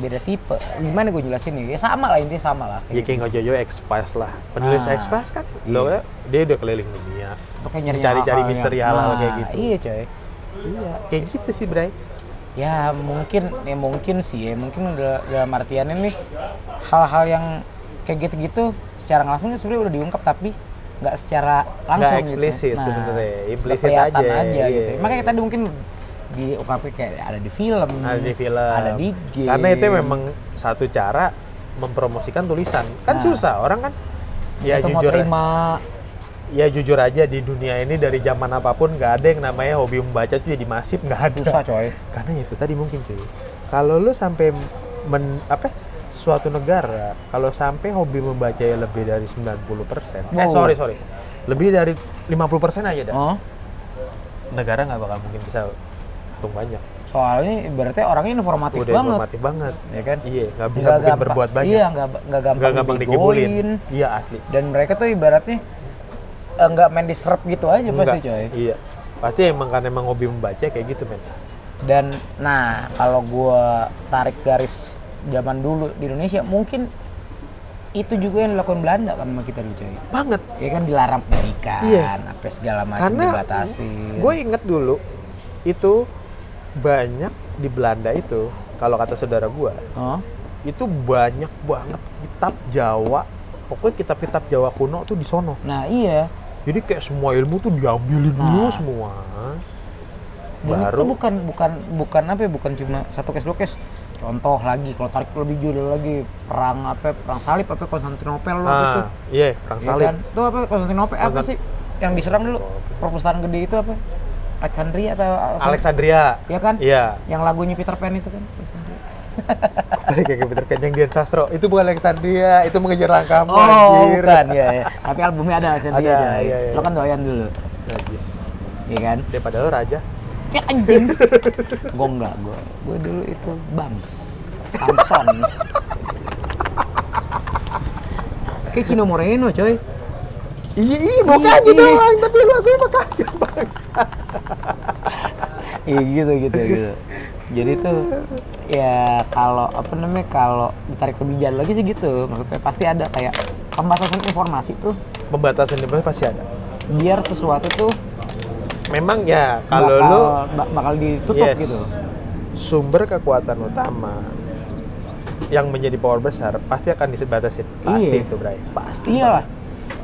S2: beda tipe gimana gue jelasin ya ya sama lah intinya sama lah
S1: ya kayak Ngojojo X Files lah penulis
S2: Ah.
S1: X Files kan lo
S2: Iya.
S1: dia udah keliling dunia
S2: Untuk kayak nyari
S1: cari-cari
S2: hal-hal
S1: misteri
S2: yang-
S1: halal
S2: Nah,
S1: kayak gitu
S2: iya coy
S1: iya kayak gitu sih Bray
S2: ya mungkin ya mungkin sih ya mungkin dal- dalam artian ini hal-hal yang kayak gitu-gitu secara nggak langsung sebenarnya udah diungkap tapi nggak secara langsung gitu.
S1: eksplisit sebenarnya, implisit
S2: kelihatan
S1: aja, iya.
S2: gitu. Makanya tadi mungkin diungkapin kayak ada di film,
S1: ada di film
S2: ada di game.
S1: karena itu memang satu cara mempromosikan tulisan kan
S2: Nah.
S1: susah orang kan ya
S2: Atau
S1: jujur
S2: mau terima
S1: ya jujur aja di dunia ini dari zaman apapun nggak ada yang namanya hobi membaca tuh jadi masif nggak ada
S2: susah coy.
S1: karena ya itu tadi mungkin cuy kalau lu sampai men, apa suatu negara kalau sampai hobi membaca ya lebih dari 90 eh
S2: Wow.
S1: sorry sorry lebih dari 50 aja dah
S2: Oh,
S1: negara nggak bakal mungkin bisa untung banyak
S2: soalnya berarti orangnya informatif
S1: udah
S2: banget,
S1: normatif banget
S2: ya kan?
S1: iya nggak bisa
S2: Nggak
S1: mungkin
S2: gampang-
S1: berbuat banyak
S2: Iya, nggak nggak gampang,
S1: nggak gampang
S2: dibegoin.
S1: dikibulin iya asli
S2: Dan mereka tuh ibaratnya eh, nggak main disrupt gitu aja pasti
S1: Nggak.
S2: coy.
S1: iya pasti emang karena emang hobi membaca kayak gitu men
S2: Dan nah kalau gua tarik garis zaman dulu di Indonesia mungkin itu juga yang dilakukan Belanda kan sama kita dulu coy.
S1: banget
S2: Ya kan dilarang pernikahan,
S1: Iya.
S2: apa segala macam
S1: karena
S2: dibatasi.
S1: gue inget dulu itu banyak di Belanda itu kalau kata saudara gue
S2: oh,
S1: itu banyak banget kitab Jawa pokoknya kitab-kitab Jawa kuno tuh di sono
S2: nah iya.
S1: jadi kayak semua ilmu tuh diambilin dulu
S2: Nah.
S1: semua
S2: Dan itu
S1: baru
S2: bukan bukan bukan apa ya bukan cuma satu case dua case Contoh lagi kalau tarik lebih jauh lagi perang apa perang salib apa Konstantinopel lo itu.
S1: Ah, iya, perang
S2: Iya
S1: salib.
S2: kan? Itu apa Konstantinopel apa
S1: Konstan-
S2: sih yang diserang dulu? Perpustakaan gede itu apa? Alexandria atau apa?
S1: Alexandria.
S2: Iya kan?
S1: Iya.
S2: Yang lagunya Peter Pan itu kan? Alexandria.
S1: Tadi kayak Peter Pan yang Dian Sastro. Itu bukan Alexandria, itu mengejar langkahmu
S2: Oh, bukan ya, ya. Tapi albumnya ada Alexandria.
S1: Ada,
S2: Ada,
S1: iya, iya.
S2: Lo kan doyan dulu,
S1: Najis.
S2: iya kan?
S1: Dia padahal raja.
S2: Ya anjing. gue enggak, gue gue dulu itu Bams. Samson. Kayak Cino Moreno, coy.
S1: Iya, iya, makanya
S2: Iya.
S1: doang, tapi lu gue makanya bangsa.
S2: Iya gitu gitu gitu. Jadi tuh ya kalau apa namanya kalau ditarik lebih jauh lagi sih gitu. Maksudnya pasti ada kayak pembatasan informasi tuh
S1: Pembatasan debat pasti ada.
S2: biar sesuatu tuh
S1: Memang ya, kalau
S2: bakal,
S1: lu
S2: ba- bakal ditutup
S1: Yes.
S2: gitu.
S1: sumber kekuatan utama yang menjadi power besar pasti akan disebatasin. Pasti
S2: Iya.
S1: itu, Bray. Pasti.
S2: Iyalah.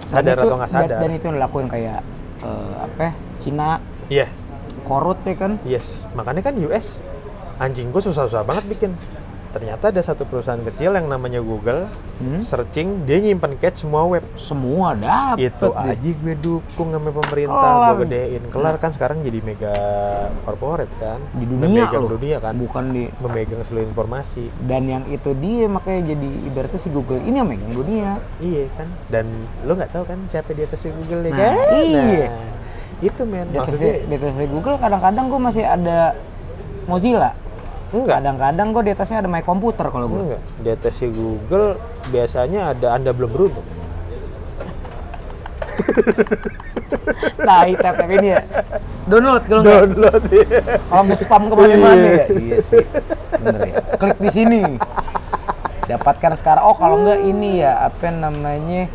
S1: Sadar
S2: Dan itu-
S1: atau nggak
S2: dan-
S1: sadar.
S2: Dan, itu yang dilakuin kayak eh, apa? ya, Cina
S1: Iya.
S2: korut ya kan?
S1: Yes, makanya kan US anjing gue susah-susah banget bikin. Ternyata ada satu perusahaan kecil yang namanya Google,
S2: Hmm.
S1: searching dia nyimpen cache semua web.
S2: Semua dapet.
S1: Itu
S2: deh.
S1: aja gue dukung sama
S2: Kelar.
S1: pemerintah, gue gedein. Kelar kan sekarang jadi mega corporate kan,
S2: Di dunia
S1: memegang
S2: loh.
S1: dunia kan,
S2: Bukan di
S1: memegang seluruh informasi.
S2: dan yang itu dia makanya jadi ibaratnya si Google ini yang megang dunia.
S1: Iya kan, dan lo nggak tahu kan siapa di atas si Google ya
S2: Nah,
S1: kan?
S2: iya.
S1: Nah, itu men
S2: Di atas,
S1: maksudnya
S2: di atas Google kadang-kadang gue masih ada Mozilla.
S1: Enggak.
S2: Kadang-kadang gue di atasnya ada My Computer kalau gue.
S1: Enggak, di atas si Google biasanya ada anda belum beruntung.
S2: Nah, tap tap ini ya. Download kalau nggak.
S1: Download. iya.
S2: Kalau nggak spam kemana-mana ya. Iya sih. Bener ya. Klik di sini. Dapatkan sekarang. Oh kalau nggak ini ya apa namanya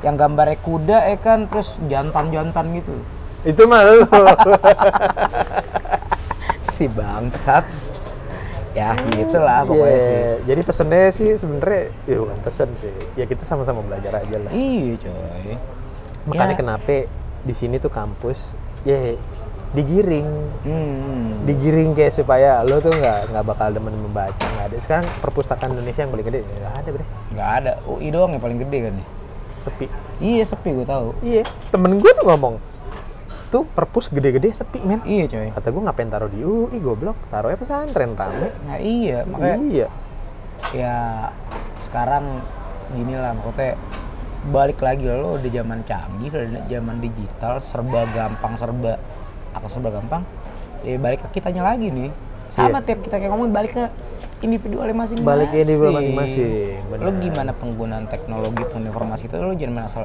S2: yang gambarnya kuda ya kan terus jantan-jantan gitu.
S1: itu mah lo.
S2: Si bangsat. Ya gitulah pokoknya
S1: Iya,
S2: sih.
S1: Jadi pesennya sih sebenarnya ya bukan pesen sih. Ya kita sama-sama belajar aja lah.
S2: Iya coy.
S1: Makanya
S2: Ya.
S1: kenapa di sini tuh kampus ya digiring,
S2: Hmm.
S1: digiring kayak supaya lo tuh nggak nggak bakal demen membaca nggak ada. Sekarang perpustakaan Indonesia yang paling gede nggak ada bre,
S2: Nggak ada. UI doang yang paling gede kan ya.
S1: sepi.
S2: Iya sepi gue tahu.
S1: Iya. Temen gue tuh ngomong, tuh perpus gede-gede sepi men.
S2: Iya coy.
S1: Kata gue ngapain taruh di UI goblok, taruhnya pesantren rame.
S2: Nah iya makanya
S1: Iya.
S2: ya sekarang gini lah maksudnya balik lagi lo udah zaman canggih udah zaman digital serba gampang serba atau serba gampang ya balik ke kitanya lagi nih sama tiap kita kayak ngomong balik ke individualnya masing-masing
S1: Iya. Balik ke individu masing-masing,
S2: lo
S1: benar.
S2: gimana penggunaan teknologi penggunaan informasi itu lo jangan main asal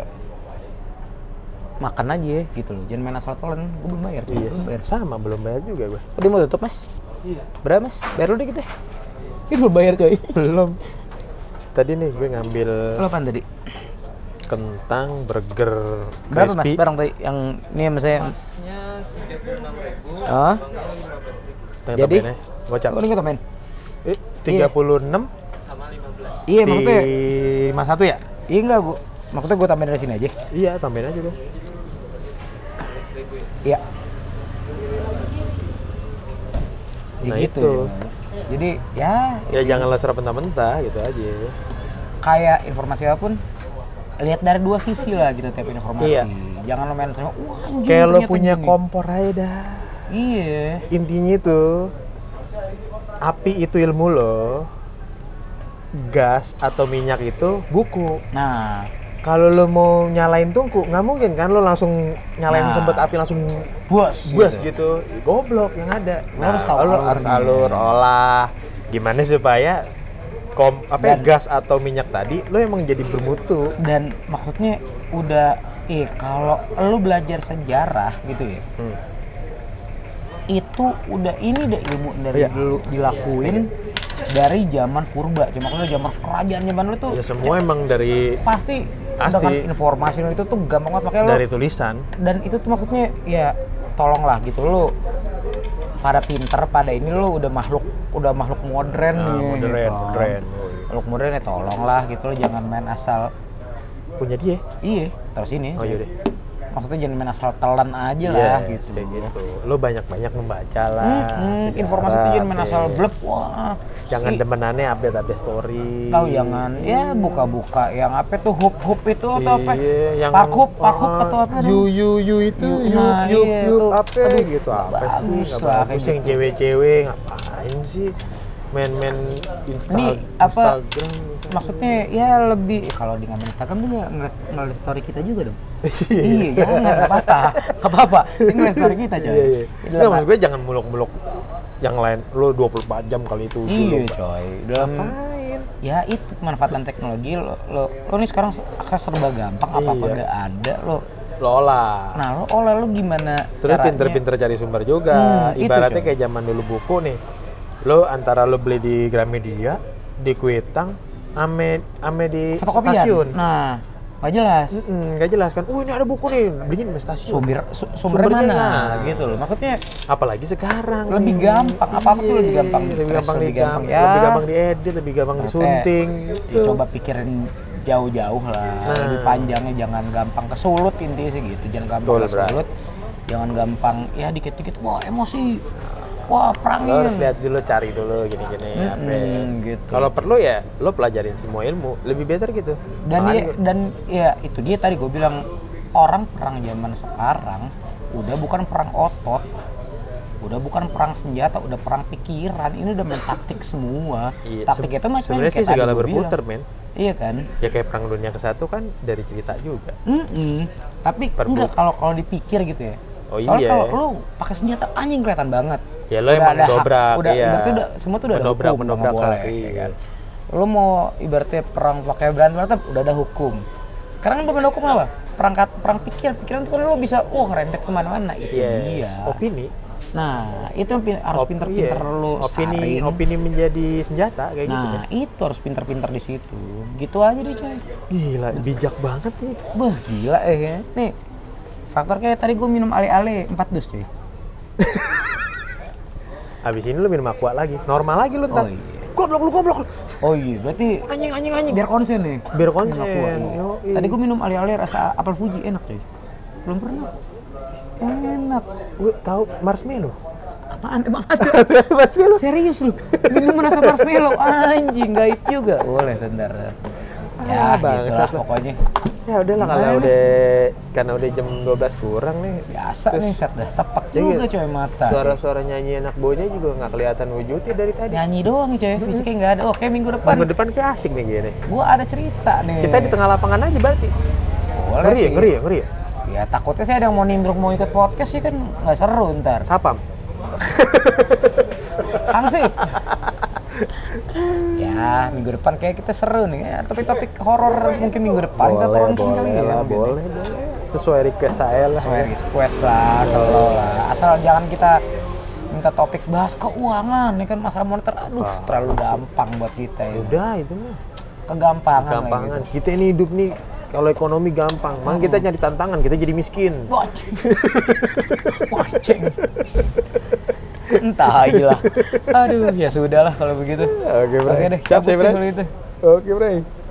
S2: makan aja gitu loh jangan main asal telan gue belum bayar tuh
S1: Iya.
S2: belum bayar
S1: Sama belum bayar juga gue.
S2: udah mau tutup mas
S1: Iya.
S2: berapa mas bayar lu dikit deh ini belum bayar coy
S1: Belum. Tadi nih gue ngambil
S2: lo apaan tadi
S1: kentang burger
S2: Berapa mas
S1: crispy.
S2: barang tadi yang ini ya, mas saya? Ah,
S1: Tengah
S2: Jadi?
S1: tambahin ya. Gocap.
S2: oh, ini kita main.
S1: Eh, 36
S2: Iya
S1: di
S2: maksudnya,
S1: 51 ya?
S2: iya enggak gua. Maksudnya gua tambahin dari sini aja.
S1: Iya, tambahin aja deh.
S2: Iya. Ya
S1: Nah,
S2: gitu.
S1: itu.
S2: ya. Jadi ya
S1: Ya jangan lah serap mentah-mentah gitu aja.
S2: kayak informasi apapun lihat dari dua sisi lah gitu tiap informasi.
S1: Iya.
S2: Jangan lo main terus. Wah, anjing,
S1: Kayak lo
S2: ternyata
S1: punya
S2: gini."
S1: kompor aja dah.
S2: Iya.
S1: Intinya itu api itu ilmu lo. Gas atau minyak itu buku.
S2: Nah,
S1: Kalau lo mau nyalain tungku, nggak mungkin kan lo langsung nyalain
S2: Nah.
S1: sempet api langsung
S2: bos.
S1: bus gitu. Goblok yang ada. Nah,
S2: Lo harus tahu
S1: lo harus
S2: alurnya.
S1: alur olah. Gimana supaya kom apa ya,
S2: Dan-
S1: gas atau minyak tadi lo emang jadi bermutu.
S2: dan maksudnya udah eh kalau lu belajar sejarah gitu ya
S1: Hmm.
S2: itu udah ini udah ilmu dari
S1: Iya.
S2: dulu dilakuin dari zaman purba cuma kalau zaman kerajaan zaman lu tuh
S1: Ya semua emang dari
S2: pasti,
S1: Pasti.
S2: dengan informasi lu itu tuh gampang banget makanya lu
S1: dari tulisan.
S2: dan itu tuh maksudnya ya tolonglah gitu lu pada pinter pada ini lu udah makhluk udah makhluk modern
S1: Nah,
S2: nih,
S1: modern,
S2: gitu.
S1: modern.
S2: makhluk modern ya tolonglah gitu lo jangan main asal
S1: Punya dia.
S2: iya terus ini
S1: Oh Iya, yaudah.
S2: maksudnya jangan main asal telan aja lah
S1: Yes,
S2: gitu.
S1: kayak gitu. Lo banyak-banyak membaca lah.
S2: Hmm,
S1: sejarah,
S2: informasi itu jangan main
S1: update.
S2: asal blep. Wah,
S1: Iya, Jangan
S2: si-
S1: demenannya update-update story.
S2: tahu jangan ya buka-buka yang apa tuh hub hub itu atau apa?
S1: Iya, yang
S2: Parkup, parkup atau apa?
S1: You you you itu
S2: You-
S1: you
S2: nah,
S1: you
S2: iya,
S1: you
S2: tuh.
S1: apa
S2: Aduh,
S1: gitu
S2: nggak
S1: apa sih?
S2: bagus
S1: Nggak
S2: lah,
S1: bagus
S2: kayak
S1: yang
S2: gitu.
S1: cewek-cewek ngapain sih? Main-main Insta,
S2: Ini apa-
S1: Instagram.
S2: Maksudnya ya lebih ya, kalau di ngamen Instagram dia nggak- nggak nggak story kita juga dong. iya, jangan nggak apa-apa, nggak apa-apa. Ini nggak story kita coy.
S1: Iya, iya.
S2: Dalam
S1: Nah, maksud gue jangan muluk-muluk yang lain. Lo 24 jam kali itu.
S2: Iya
S1: dulu.
S2: coy. Dalam
S1: Ngapain?
S2: ya itu pemanfaatan teknologi lo lo, lo nih sekarang akses serba gampang apa apa
S1: Iya.
S2: udah ada lo.
S1: Lola.
S2: Nah lo olah lo gimana?
S1: Terus
S2: caranya?
S1: pinter-pinter cari sumber juga.
S2: Hmm, itu,
S1: Ibaratnya
S2: coy.
S1: kayak zaman dulu buku nih. Lo antara lo beli di Gramedia, di Kuitang, ame ame di
S2: Fotokopian.
S1: stasiun.
S2: Nah, nggak jelas.
S1: Mm-mm, nggak jelas kan. Oh ini ada buku nih, belinya di stasiun.
S2: Sumber su- sumbernya
S1: Sumbernya
S2: mana?
S1: nggak.
S2: Gitu loh. Maksudnya
S1: Apalagi sekarang.
S2: Lebih
S1: nih.
S2: gampang, apa-apa tuh lebih
S1: Iya,
S2: gampang.
S1: Lebih
S2: Stress
S1: gampang,
S2: lebih
S1: digam-
S2: gampang, ya. Iya,
S1: lebih gampang diedit, lebih gampang disunting. gitu.
S2: coba pikirin jauh-jauh lah,
S1: Nah.
S2: lebih panjangnya jangan gampang kesulut intinya sih gitu, jangan gampang
S1: Betul, Bray.
S2: kesulut, jangan gampang ya dikit-dikit wah emosi, wah
S1: Lo
S2: perangin.
S1: harus lihat dulu, cari dulu gini-gini. apa.
S2: Iya. Mm-mm, gitu.
S1: Kalau perlu ya lo pelajarin semua ilmu, lebih better gitu.
S2: dan
S1: Makanya
S2: dia, dan ya itu dia tadi gue bilang orang perang zaman sekarang udah bukan perang otot udah bukan perang senjata udah perang pikiran ini udah main taktik semua
S1: Iya,
S2: taktik
S1: se-
S2: itu macam
S1: sebenarnya sih segala berputar, men.
S2: iya kan
S1: ya kayak perang dunia ke satu kan dari cerita juga
S2: Mm-mm. tapi
S1: Perbu-
S2: enggak kalau kalau dipikir gitu ya
S1: Oh,
S2: soalnya
S1: iya.
S2: kalau lu pakai senjata anjing kelihatan banget
S1: Ya, lo emang
S2: hak-
S1: dobrak,
S2: udah
S1: iya.
S2: ibaratnya udah semua tuh udah
S1: Mendobrak,
S2: ada hukum nggak
S1: mendobrak
S2: boleh
S1: lah,
S2: ya
S1: iya.
S2: kan lu mau ibaratnya perang pakai berantem berantem udah ada hukum karena kan pemain hukum apa perangkat perang pikir pikiran tuh kan lu bisa wah ngerempet kemana-mana itu
S1: Iya.
S2: dia
S1: opini
S2: nah itu yang pin- Iya. harus
S1: Op-
S2: pinter-pinter
S1: iya.
S2: lu
S1: opini
S2: saring.
S1: opini menjadi senjata kayak gitu
S2: nah
S1: kan
S2: itu harus pinter-pinter di situ gitu aja deh coy
S1: gila bijak banget nih
S2: Wah gila eh ya. Nih faktor kayak tadi gue minum ale-ale 4 dus cuy.
S1: abis ini lu minum aqua lagi normal lagi lu ntar
S2: Oh, iya.
S1: goblok lu goblok lu.
S2: Oh iya berarti
S1: anjing anjing anjing
S2: biar konsen nih.
S1: Biar konsen,
S2: Minum aqua, iya.
S1: yoi.
S2: Tadi gue minum ale-ale rasa apel Fuji enak cuy. Belum pernah. Enak.
S1: gue tahu marshmallow
S2: Apaan emang ada?
S1: marshmallow
S2: Serius lu? Minum rasa marshmallow anjing gaib juga. Boleh bentar.
S1: Ah,
S2: Ya gitu lah
S1: bangsat lu.
S2: pokoknya.
S1: ya udahlah kalau
S2: Gimana?
S1: udah karena udah jam 12 kurang nih
S2: Biasa nih set dah sepet
S1: Iya,
S2: juga
S1: gitu.
S2: coy mata.
S1: suara-suara nyanyi anak bocah juga nggak kelihatan wujudnya dari tadi
S2: Nyanyi doang nih, coy, fisiknya nggak ada. Oke minggu depan
S1: minggu depan kayak asik nih gini
S2: gua ada cerita nih.
S1: kita di tengah lapangan aja berarti
S2: Boleh
S1: ngeri ya
S2: sih.
S1: ngeri ya ngeri ya
S2: Ya takutnya saya ada yang mau nimbrung mau ikut podcast sih kan nggak seru ntar.
S1: sapam
S2: Kang sih. ya minggu depan kayak kita seru nih. Ya, topik-topik horor mungkin minggu depan kita
S1: boleh
S2: tolongin
S1: boleh
S2: kali ya.
S1: lah,
S2: mungkin.
S1: boleh boleh sesuai request saya lah
S2: Sesuai request lah, selalu lah. Asal jangan kita minta topik bahas keuangan ya kan masalah moneter aduh
S1: Ah,
S2: terlalu gampang buat kita ya
S1: udah itu mah
S2: kegampangan lah
S1: gampangan
S2: gitu.
S1: kita ini hidup nih kalau ekonomi gampang mah kita nyari tantangan kita jadi miskin
S2: Wajing. Wajing. Entah aja lah. Aduh, ya sudahlah kalau begitu.
S1: oke
S2: Oke deh,
S1: siap saya
S2: cabut deh
S1: Bray
S2: kalau gitu.
S1: oke Bray